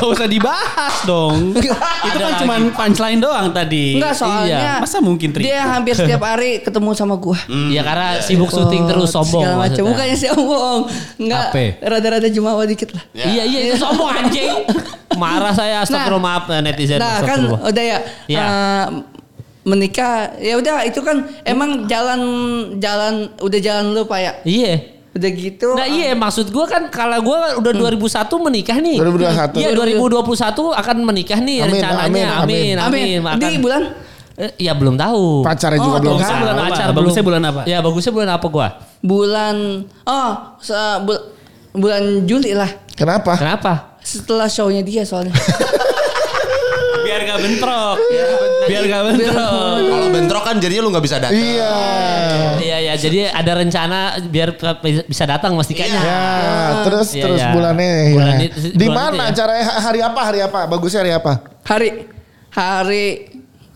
S7: Gak usah dibahas dong. Itu kan cuma punchline doang tadi.
S1: Enggak soalnya.
S7: Iya. Masa mungkin tripod?
S1: Dia hampir setiap hari ketemu sama gua. Oh,
S2: Ya karena
S7: Iya.
S2: sibuk syuting terus sombong.
S1: Segala macam.
S2: maksudnya.
S1: Bukannya sombong. Enggak.
S5: Apa?
S1: Rada-rada jumawa dikit lah.
S2: Iya, iya itu sombong anjing. Marah saya astagfirullah maaf netizen.
S1: Nah kan
S2: astagfirullah.
S1: udah ya.
S2: Iya.
S1: eh, menikah ya udah itu kan emang jalan jalan udah jalan lu pak ya
S2: Iya.
S1: udah gitu
S2: Nah iya maksud gua kan kalau gua udah 2001 menikah nih.
S3: 2021.
S2: Iya 2021 akan menikah nih
S3: Amin,
S2: rencananya. Amin
S3: amin,
S2: amin.
S1: Amin.
S2: Nah, Makan.
S1: Di bulan
S2: Eh, ya belum tahu.
S3: Pacarnya juga
S2: oh,
S3: belum
S7: bagusnya
S3: tahu.
S7: bulan apa?
S2: Pacar
S7: Bagusnya
S2: belum.
S7: bulan apa?
S2: Ya bagusnya bulan apa gua?
S1: bulan oh se- bul- bulan Juli lah
S3: Kenapa?
S2: Kenapa?
S1: setelah shownya dia soalnya.
S7: Biar gak bentrok.
S2: Iya,
S7: Biar gak
S1: Biar-
S7: bentrok.
S4: Kalau bentrok kan jadinya lu nggak bisa datang.
S3: Iya.
S2: Iya ya, jadi ada rencana biar ke- bisa datang Mas Dikanya.
S3: Ya, terus
S2: Iya,
S3: terus
S2: iya.
S3: bulannya. ya.
S2: Bulan itu-
S3: Di
S2: bulan
S3: mana
S2: itu ya.
S3: acaranya? Hari apa? Hari apa? Bagusnya hari apa?
S1: hari hari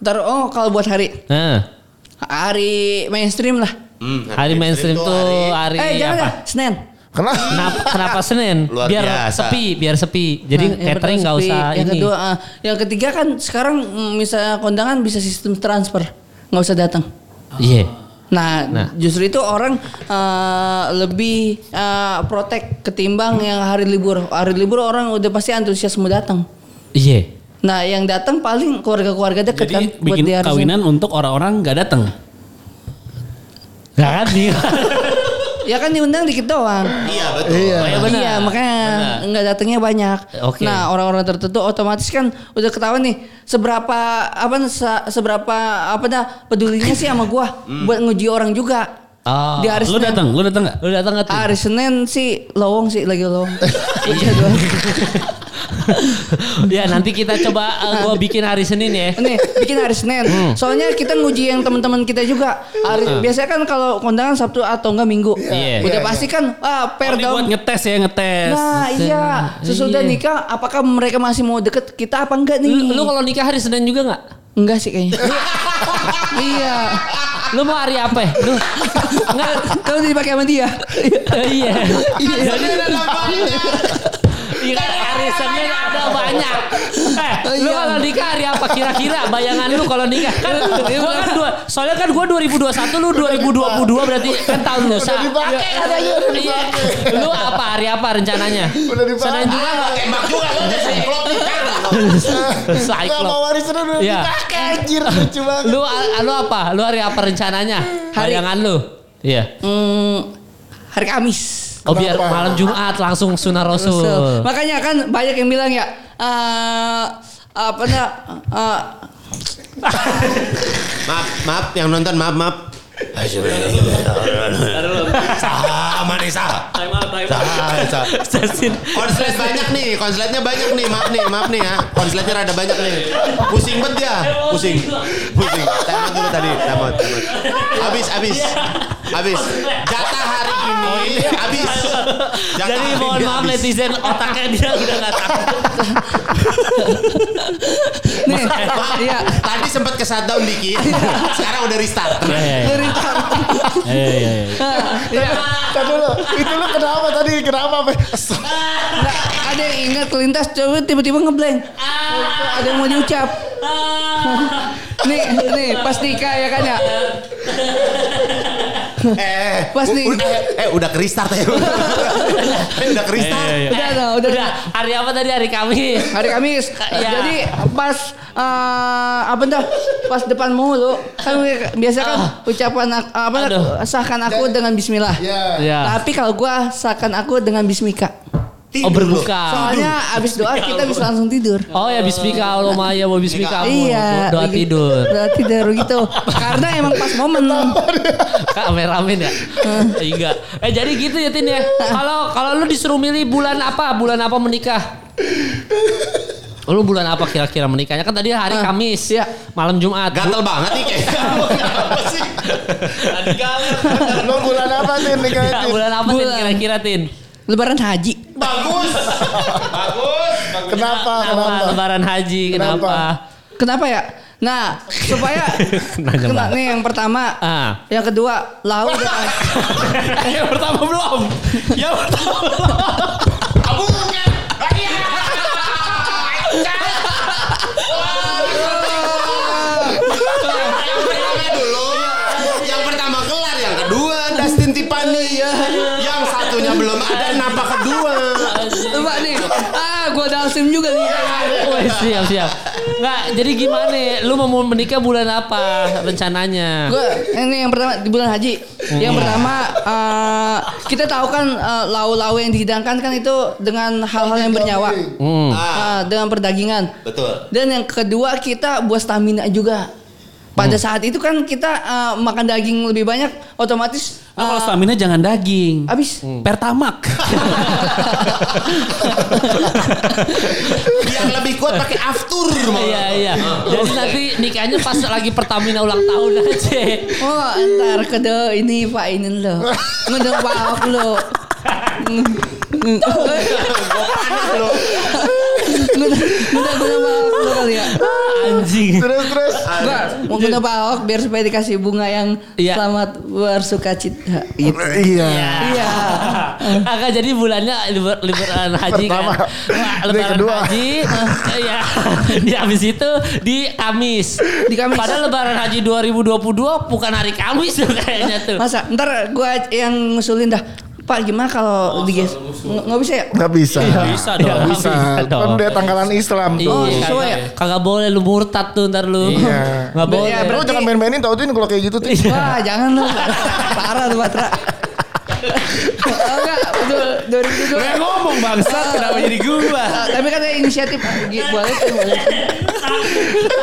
S1: ntar oh kalau buat hari
S2: Nah,
S1: hari mainstream lah.
S4: Hmm,
S2: hari mainstream
S4: itu
S2: tuh
S4: hari-
S1: eh
S2: hari,
S1: jangan
S2: apa?
S1: lah, Senin.
S3: Kenapa?
S2: Kenapa, kenapa Senin?
S4: Luar
S2: biar
S4: biasa.
S2: sepi, biar sepi. Jadi
S1: Nah, yang
S2: catering
S1: pertama
S2: nggak
S1: sepi.
S2: usah
S1: yang
S2: ini.
S1: kedua ah, yang ketiga kan sekarang mm, misalnya kondangan bisa sistem transfer nggak usah datang.
S2: Iya.
S1: Nah,
S2: Nah.
S1: justru itu orang eh, lebih eh, protek ketimbang yang hari libur. Hari libur orang udah pasti antusias mau datang.
S2: Iya.
S1: Nah yang datang paling keluarga-keluarga dekat kan.
S7: Jadi
S1: buat
S7: bikin
S1: diharusin.
S7: kawinan untuk orang-orang nggak datang.
S2: Gak kan nih.
S1: Ya kan diundang dikit doang.
S4: Iya betul.
S2: Oh, ya benar.
S1: Iya makanya nggak datangnya banyak.
S2: Oke.
S1: Nah orang-orang tertentu otomatis kan udah ketahuan nih seberapa apa se- seberapa apa dah pedulinya sih sama gua buat nguji orang juga.
S2: Oh,
S1: Di hari
S7: Lu
S1: Senin.
S7: datang, lu datang nggak?
S2: Lu datang gak tuh?
S1: Hari Senin sih lowong sih lagi lowong. Iya
S2: ya nanti kita coba eh, gua bikin hari Senin ya.
S1: Nih bikin hari Senin. Soalnya kita nguji yang teman-teman kita juga. Hari, Biasanya kan kalau kondangan Sabtu atau enggak Minggu.
S7: Iya.
S1: Udah pasti kan ah,
S7: Oh,
S1: per
S7: ini buat
S1: daun.
S7: ngetes ya ngetes.
S1: Nah iya sesudah
S2: Iya.
S1: nikah apakah mereka masih mau deket kita apa enggak nih?
S2: Lu, lu kalau nikah hari Senin juga gak?
S1: enggak sih kayaknya. iya.
S2: Lu mau hari apa ya? Lu,
S1: Enggak, kalau dipakai sama dia.
S2: Eh, iya.
S1: Iya.
S2: Iya kan hari Senin ada banyak. Eh,
S1: Oh,
S2: lu
S1: iya.
S2: kalau nikah hari apa kira-kira? Bayangan lu kalau nikah kan gua kan dua, soalnya kan gua 2021 lu 2022 berarti kan tahun lu. Sa.
S3: Udah dipakai katanya, udah
S2: Iya.
S3: dipakai.
S2: Lu apa hari apa rencananya?
S3: Udah dipakai.
S2: Senin juga
S4: Ah,
S2: enggak?
S4: Tembak juga lu udah cyclop nih kan.
S2: Cyclop.
S3: Gak mau warisan udah
S2: Iya.
S3: dipakai anjir lucu banget.
S2: Lu lu apa? Lu hari apa rencananya?
S1: Hari-
S2: Bayangan lu. Iya.
S1: Hmm, hari Kamis.
S2: Oh biar
S3: Kenapa?
S2: malam Jumat langsung sunah rasul.
S1: Betul. Makanya kan banyak yang bilang ya eh apa nah, eh,
S4: Maaf, maaf yang nonton maaf, maaf. Sama nih sah. Sah, sah. Konslet banyak nih, konsletnya banyak nih, maaf nih, maaf nih ya. Konsletnya rada banyak nih. Pusing banget ya, pusing. Pusing. Tamat dulu tadi, tamat, tamat. Habis, habis. Habis. Jatah hari ini habis. Jatah
S2: Jadi
S4: hari
S2: mohon
S4: ini
S2: maaf
S4: Nah, habis.
S2: netizen otaknya dia udah nggak tahu.
S1: nih
S4: Maaf,
S1: ya
S4: Tadi sempat ke shutdown dikit. Sekarang udah restart.
S1: dari
S7: Iya, iya, iya.
S1: ya,
S3: Tadi lu, itu lu kenapa tadi? Kenapa? Pe?
S1: nggak, ada yang ingat lintas coba tiba-tiba ngeblank
S2: Ah.
S1: ada yang mau diucap nih nih pas nikah ya kan ya
S4: Eh,
S1: Pas nih.
S4: udah, eh udah ke restart ya. eh, udah ke restart.
S7: Iya, iya.
S1: udah udah udah,
S2: Udah Nah, hari apa tadi hari Kamis.
S1: hari Kamis
S2: Iya.
S1: jadi pas eh, apa dah pas depan mulu kan biasa kan ucapan ak- apa dah,
S2: Ah. Aduh.
S1: sahkan aku dengan Bismillah
S3: Ya.
S7: Iya.
S1: tapi kalau gua sahkan aku dengan Bismika
S2: Oh
S4: Tidur lu.
S2: berbuka.
S1: Soalnya abis doa kita bisa langsung tidur.
S2: Oh ya bismika Allahumma ya wa bismika
S1: iya.
S2: Doa
S1: lagi-
S2: tidur.
S1: Doa tidur gitu. Karena emang pas momen.
S2: Kameramen ya. Iya. Eh jadi gitu ya Tin ya. Kalau kalau lu disuruh milih bulan apa? Bulan apa menikah? Lu bulan apa kira-kira menikahnya? Kan tadi hari
S1: Ah,
S2: Kamis.
S1: iya.
S2: Malam Jumat.
S4: Gatel banget nih kayaknya. Apa sih?
S3: Lu bulan apa sih nikahnya?
S2: Ya,
S3: Tin?
S2: bulan apa Tin
S1: Bulan.
S2: kira-kira Tin?
S1: Lebaran haji.
S4: Bagus. Bagus.
S3: Kenapa?
S2: Nah,
S3: Kenapa?
S2: Lebaran haji
S3: Kenapa?
S2: kenapa?
S1: Kenapa ya? Nah, supaya kena nih yang pertama,
S2: Ah.
S1: yang kedua laut.
S2: yang pertama belum. Yang pertama.
S4: Tabungan. Iya. Yang pertama dulu. Yang pertama kelar, yang kedua Dustin Tiffany. Yang satunya belum ada, kenapa kedua?
S1: Coba nih, ah gua ada sim juga nih.
S2: Wih, siap siap. Nggak, jadi gimana? Lu mau menikah bulan apa rencananya?
S1: Gua ini yang pertama di bulan haji. Yang pertama eh, kita tahu kan eh, lau-lau yang dihidangkan kan itu dengan hal-hal yang bernyawa.
S4: Ah,
S1: Ah, dengan perdagingan.
S4: betul.
S1: Dan yang kedua kita buat stamina juga. Pada saat itu kan kita eh, makan daging lebih banyak, otomatis
S7: Lu
S1: eh,
S7: kalau stamina jangan daging.
S1: habis.
S7: Pertamak.
S4: Yang lebih kuat pakai aftur.
S2: Iya iya. Jadi nanti nikahnya pas lagi Pertamina ulang tahun aja.
S1: Oh, ntar kede ini Pak ini lo, ngedeng Pak Ahok lo,
S4: Gua panas loh.
S1: ngedeng ngedeng ngedeng Pak Ahok lo kali ya.
S2: Anjing.
S3: Terus terus.
S1: Gua mau ngedeng Pak Ahok biar supaya dikasih bunga yang
S2: Iya.
S1: selamat bersuka cita. Gitu.
S3: Iya.
S1: Iya.
S2: Agak jadi bulannya liber, liberan haji kan.
S3: Pertama.
S2: Nah,
S3: Ini
S2: lebaran
S3: kedua.
S2: haji. ya. Di habis itu di Kamis.
S1: Di Kamis.
S2: Padahal lebaran haji 2022 bukan hari Kamis tuh kayaknya tuh.
S1: Masa ntar gua yang ngusulin dah Pak gimana kalau digeser? Nggak nggak bisa ya?
S3: Nggak bisa.
S7: Bisa dong.
S3: Nggak bisa. Kan udah tanggalan Islam tuh.
S1: Oh,
S2: Iya,
S1: sesuai ya?
S2: Kagak boleh lu murtad tuh ntar lu.
S3: Iya.
S2: Nggak boleh.
S1: Ya,
S3: Lu
S1: berarti- Iya.
S3: jangan main-mainin tautin kalau kayak gitu tuh.
S1: Wah jangan lu. Parah tuh Patra. Oh, Enggak, betul. Dari itu.
S7: Gue ngomong bangsa kenapa jadi gua?
S1: Ah. Tapi kan saya inisiatif Gi- boleh tuh, boleh.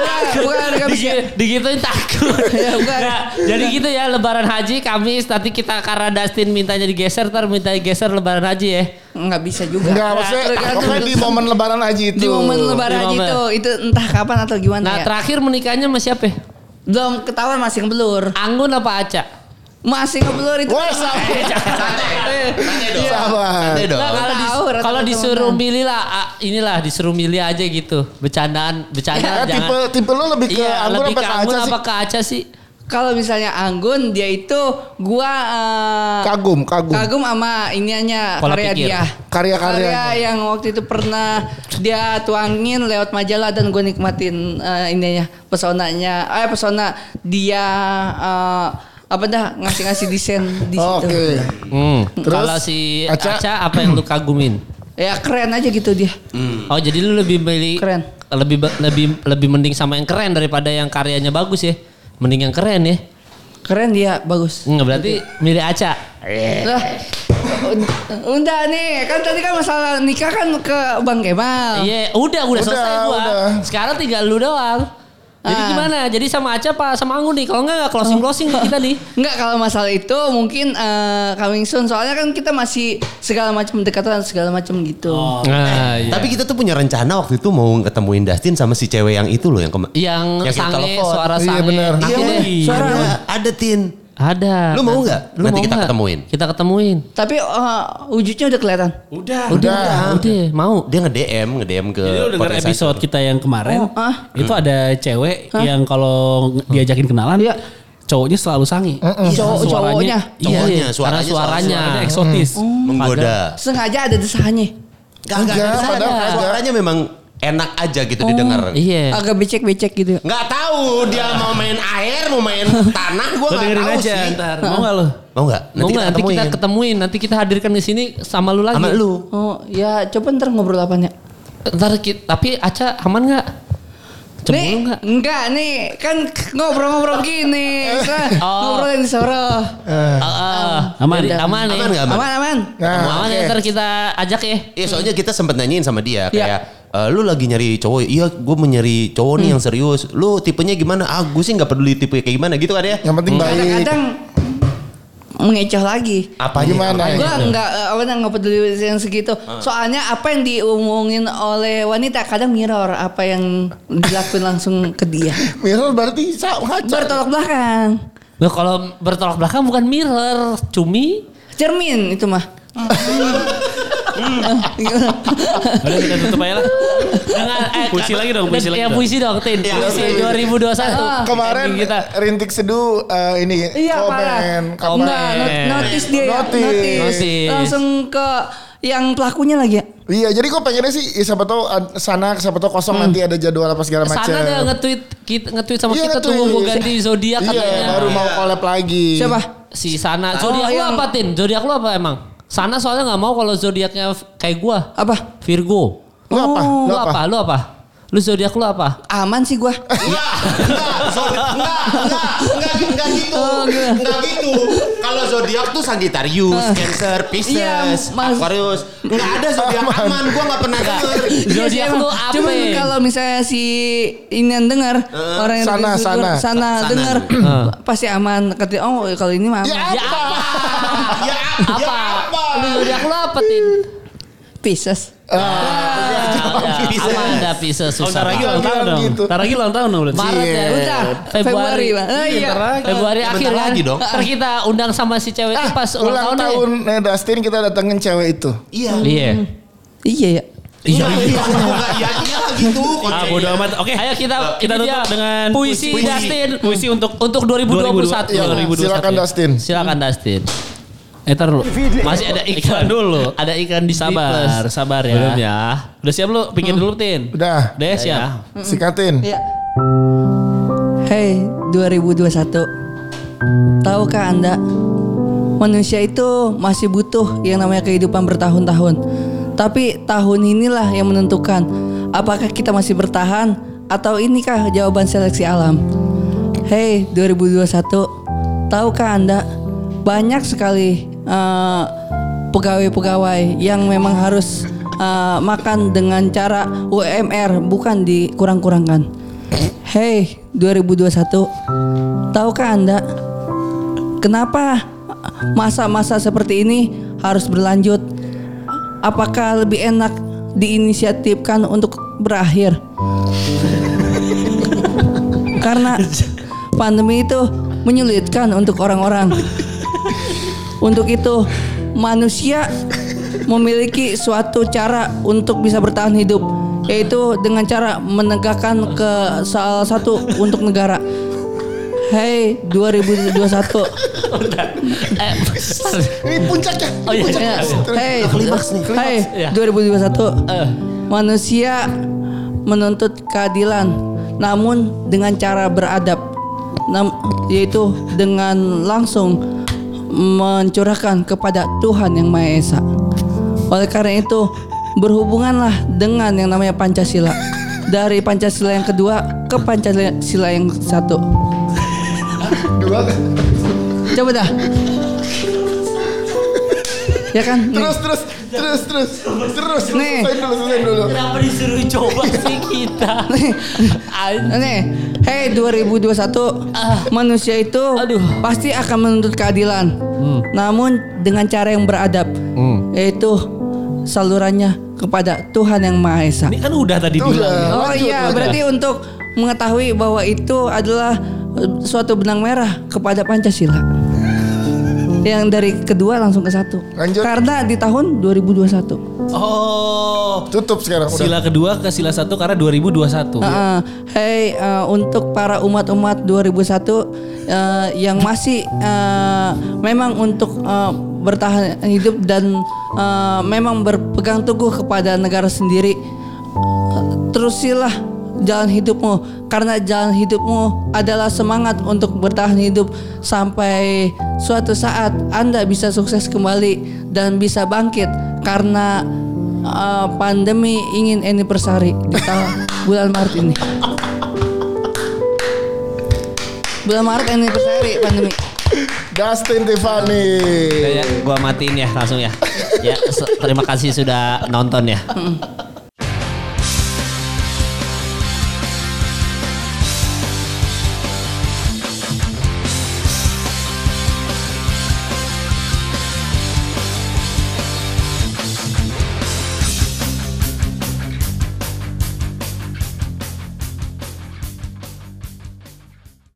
S1: Bukan, Bukan, nggak bisa.
S2: Digi- Iya. digituin takut.
S1: Ya, bukan.
S2: Nah, jadi gitu ya Lebaran Haji Kamis nanti kita karena Dustin mintanya digeser ntar minta digeser Lebaran Haji ya.
S1: Nggak bisa juga.
S3: Enggak, maksudnya
S1: Tergantung.
S3: pokoknya di momen lebaran aja itu.
S1: Iya. di momen lebaran
S2: Di momen.
S1: itu itu entah kapan atau gimana
S2: Nah
S3: Iya.
S1: ya.
S2: terakhir menikahnya sama siapa? ya?
S1: Belum ketahuan masih ngeblur.
S2: Anggun apa Aca?
S1: Masih ngeblur itu. Eh, Iya.
S3: Wah, sabar. Sabar.
S4: Santai dong.
S2: Nah, kalau dis-
S1: Tahu, rata-rata
S2: kalau disuruh
S1: temenan.
S2: milih lah ah, inilah disuruh milih aja gitu. Bercandaan,
S3: Eh,
S2: bercandaan
S3: tipe
S2: jangan.
S3: tipe lu lebih ke
S2: Iya,
S3: anggur
S2: lebih
S3: apa
S2: ke
S3: ke
S2: Anggun
S3: aja sih?
S2: apa ke Aca sih?
S1: Kalau misalnya Anggun dia itu gua eh,
S3: Kagum, kagum.
S1: kagum sama iniannya
S2: Pola
S1: karya
S2: pikir.
S1: dia.
S3: Karya-karyanya.
S1: Karya yang waktu itu pernah dia tuangin lewat majalah dan gue nikmatin eh, ininya pesonanya. Eh pesona dia eh, apa dah ngasih-ngasih desain di situ.
S3: Oke.
S2: Hmm.
S3: Terus,
S2: Kalau si
S3: Aca?
S2: Aca? apa yang lu kagumin?
S1: Ya keren aja gitu dia.
S2: Oh jadi lu lebih milih
S1: Keren.
S2: lebih ba- lebih lebih mending sama yang keren daripada yang karyanya bagus ya. Mending yang keren ya.
S1: Keren dia, bagus.
S2: Enggak berarti milih Aca.
S1: Lah,
S3: Eh.
S1: udah nih, kan tadi kan masalah nikah kan ke Bang Kemal.
S2: Iya, udah, udah
S3: Udah,
S2: selesai gua.
S3: udah.
S2: Sekarang tinggal lu doang. Jadi
S1: Ah.
S2: gimana? Jadi sama Aca apa sama Anggun nih? Kalau enggak enggak closing-closing nih kita nih.
S1: Enggak kalau masalah itu mungkin eh, coming soon soalnya kan kita masih segala macam pendekatan segala macam gitu.
S2: Nah,
S4: Tapi kita tuh punya rencana waktu itu mau ketemuin Dustin sama si cewek yang itu loh yang kemarin.
S2: yang,
S4: Yang kita
S2: sange
S4: telepon.
S2: suara
S3: Iya,
S2: sange.
S3: benar.
S2: Nanti
S4: Iya,
S2: deh.
S4: suara ada Tin.
S2: Ada.
S4: Lu mau
S2: Nanti-
S4: nggak?
S2: Lu
S4: Nanti
S2: mau
S4: kita
S2: nggak?
S4: ketemuin.
S2: Kita ketemuin.
S1: Tapi eh, wujudnya udah kelihatan.
S7: Udah.
S2: Udah, udah, mau.
S4: Dia nge-DM, nge-DM ke
S7: Jadi lu denger
S4: podcast
S7: episode kita yang kemarin,
S1: Oh, ah.
S7: itu ada cewek yang kalau diajakin kenalan,
S1: Iya.
S7: cowoknya selalu sangi.
S1: Cowok- cowoknya.
S4: Cowoknya, Hmm.
S2: Iya,
S4: suaranya
S2: suaranya, suaranya.
S7: Ada eksotis.
S4: saya. Menggoda.
S1: Sengaja ada desahannya.
S4: Gak, gak,
S3: Enggak,
S4: ada
S3: padahal
S4: sana.
S3: kagak.
S4: Suaranya memang enak aja gitu didengar.
S2: Iya.
S1: Agak becek-becek gitu.
S4: Nggak tahu dia mau main air, mau main tanah, gua
S7: Lu
S4: nggak Uh,
S7: dengerin
S4: tahu
S7: aja
S4: sih.
S7: ntar. Mau gak lu?
S4: Mau nggak?
S2: Nanti, kita, nanti kita
S4: ketemuin.
S2: ketemuin, nanti kita hadirkan di sini sama lu lagi.
S4: sama lu.
S1: Oh, ya coba ntar ngobrol apanya.
S2: Ntar kita, tapi Aca aman nggak? Cemburu
S1: Nih,
S2: nggak?
S1: enggak nih, kan ngobrol-ngobrol gini. Misalnya Ngobrol yang disorot.
S3: Eh.
S2: Ah, ah.
S7: Aman.
S2: Jadi aman, ya?
S4: Aman nggak aman?
S1: Aman, aman.
S2: Aman,
S3: Nah,
S2: ya, ntar kita ajak ya.
S4: Iya soalnya kita sempat nanyain sama dia
S1: Iya.
S4: kayak "Eh, lu lagi nyari cowok, iya gue mencari cowok nih yang serius. Lu tipenya gimana? Ah gue sih nggak peduli tipe kayak gimana gitu kan ya.
S3: yang penting baik.
S1: Kadang-kadang mengecoh lagi.
S4: Apa
S3: Gimana? ya?
S1: Gue nggak eh, apa namanya, nggak peduli yang segitu.
S3: Ah.
S1: Soalnya apa yang diomongin oleh wanita kadang mirror apa yang dilakuin langsung ke dia.
S3: Mirror berarti sama aja.
S1: Bertolak belakang.
S2: Nah, kalau bertolak belakang bukan mirror, cumi.
S1: Cermin itu mah.
S3: Hmm.
S1: Gitu.
S7: Udah kita tutup aja lah.
S2: Dengan eh,
S7: Puisi lagi dong, puisi lagi
S2: Ya
S7: dong.
S2: puisi dong, Tin.
S4: Iya,
S2: Puisi
S4: puisi.
S2: 2021.
S3: Eh, Kemarin
S2: Ending Ah, kita.
S3: rintik seduh eh, ini
S1: Iya parah.
S3: komen. komen. Eh.
S1: Enggak, not- notice dia ya.
S3: Notice.
S2: Notice.
S1: Langsung ke yang pelakunya lagi ya.
S3: Iya, jadi gue pengennya sih ya, siapa tahu ad- sana, siapa tahu kosong nanti ada jadwal apa segala macam.
S2: Sana ada nge-tweet kita nge-tweet sama
S3: Iya,
S2: kita tuh
S3: nge-tweet.
S2: mau ganti zodiak
S3: Iya,
S2: katanya.
S3: baru mau collab lagi.
S1: Siapa?
S2: Si Sana. Zodiak lu
S1: yang-
S2: apa, Tin? Zodiak lu apa emang? Sana soalnya nggak mau kalau zodiaknya f- kayak gua.
S1: Apa?
S2: Virgo.
S3: Lu apa?
S1: Oh,
S3: Lu
S2: Lu
S3: apa?
S2: apa? Lu apa? Lu zodiak lu apa?
S1: Aman sih gua.
S4: Enggak, enggak, sorry, enggak, enggak, enggak, enggak gitu, enggak gitu. Kalau zodiak tuh Sagittarius, Cancer, Pisces,
S1: Iya, mas-
S4: Aquarius. Enggak ada zodiak aman, gua enggak pernah denger.
S1: Iya sih,
S2: Zodiak
S1: emang.
S2: lu apa? ya?
S1: Cuman kalau misalnya si ini yang dengar orang yang
S3: Eh, sana,
S1: tidur,
S3: sana.
S1: sana dengar pasti aman. Kata oh kalau ini mah aman.
S3: Ya,
S2: Ya apa?
S4: Ya, ya
S2: apa?
S4: apa?
S2: Lu zodiak lu apa, Tin?
S1: Pisces.
S3: Eh,
S2: Ya,
S4: Pisces.
S2: Apa ada Pisces
S7: Oh,
S2: susah.
S7: ntar lagi ulang
S3: Jangan
S7: tahun Ah, dong.
S3: gitu.
S7: Ntar lagi ulang tahun dong. berarti.
S2: Maret ya.
S1: Bentar, Februari.
S2: Februari.
S1: Bang. Ah, iya.
S2: Februari
S4: Bentar
S2: akhir kan.
S4: lagi dong.
S2: Ntar kita undang sama si cewek itu pas ulang
S3: Ulang
S2: tahun.
S3: tahun eh, Dustin kita datengin cewek itu.
S4: Iya.
S2: ya. Iya.
S1: Iya ya.
S4: Iya, iya, enggak, iya, iya gitu.
S7: Ah, bodoh amat. Oke.
S2: Ayo kita
S7: kita
S2: ini
S7: tutup
S2: dia.
S7: dengan
S2: puisi,
S4: puisi.
S2: Dustin.
S7: Puisi untuk
S2: Untuk 2021.
S3: Iya,
S7: 2021.
S3: silakan Dustin.
S2: Silakan Dustin.
S7: Eh tar dulu.
S2: Masih ada iklan
S7: dulu.
S2: Ada iklan di
S7: Sabar,
S2: Disney Plus.
S7: sabar ya.
S2: Belum ya.
S7: Udah siap lu? Pikir dulu, Tin.
S3: Udah,
S7: Udah siap.
S3: sikatin.
S1: Iya. Hey 2021. Tahukah Anda manusia itu masih butuh yang namanya kehidupan bertahun-tahun. Tapi tahun inilah yang menentukan apakah kita masih bertahan atau inikah jawaban seleksi alam. Hey 2021, tahukah Anda banyak sekali eh, pegawai-pegawai yang memang harus eh, makan dengan cara UMR bukan dikurang-kurangkan. Hey 2021, tahukah Anda Kenapa masa-masa seperti ini harus berlanjut? Apakah lebih enak diinisiatifkan untuk berakhir? Karena pandemi itu menyulitkan untuk orang-orang. Untuk itu, manusia memiliki suatu cara untuk bisa bertahan hidup, yaitu dengan cara menegakkan ke salah satu untuk negara. Hey 2021
S3: Ini puncaknya.
S5: Oh iya,
S1: Ya, Hey,
S4: Klimaks nih,
S1: hey, 2021. Manusia menuntut keadilan, namun dengan cara beradab, Nam- yaitu dengan langsung mencurahkan kepada Tuhan yang Maha Esa. Oleh karena itu, berhubunganlah dengan yang namanya Pancasila. Dari Pancasila yang kedua ke Pancasila yang satu.
S3: Dua.
S1: Coba dah. Ya kan? Nih.
S3: Terus terus terus terus terus.
S1: Nih.
S3: Selesai dulu selesai dulu.
S5: Kenapa disuruh coba sih kita? An-
S1: Nih, hey 2021 manusia itu pasti akan menuntut keadilan. Namun dengan cara yang beradab, yaitu salurannya kepada Tuhan yang Maha Esa.
S7: Ini kan udah tadi
S3: Itu udah.
S7: bilang.
S1: Oh
S3: lanjut,
S1: iya,
S3: lanjut.
S1: berarti untuk mengetahui bahwa itu adalah eh, suatu benang merah kepada Pancasila. Yang dari kedua langsung ke satu.
S3: Lanjut.
S1: Karena di tahun 2021.
S7: Oh.
S3: Tutup sekarang. udah.
S7: Sila kedua ke sila satu karena 2021.
S1: Heeh. Hey, eh, untuk para umat-umat 2001 eh, yang masih eh, memang untuk eh, bertahan hidup dan eh, memang berpegang teguh kepada negara sendiri, eh, terusilah jalan hidupmu karena jalan hidupmu adalah semangat untuk bertahan hidup sampai suatu saat Anda bisa sukses kembali dan bisa bangkit karena eh, pandemi ingin anniversary di tahun bulan Maret ini. Bulan Maret anniversary pandemi.
S3: Dustin Tiffany.
S5: Ya, gua matiin ya langsung ya. Ya, se- terima kasih sudah nonton ya.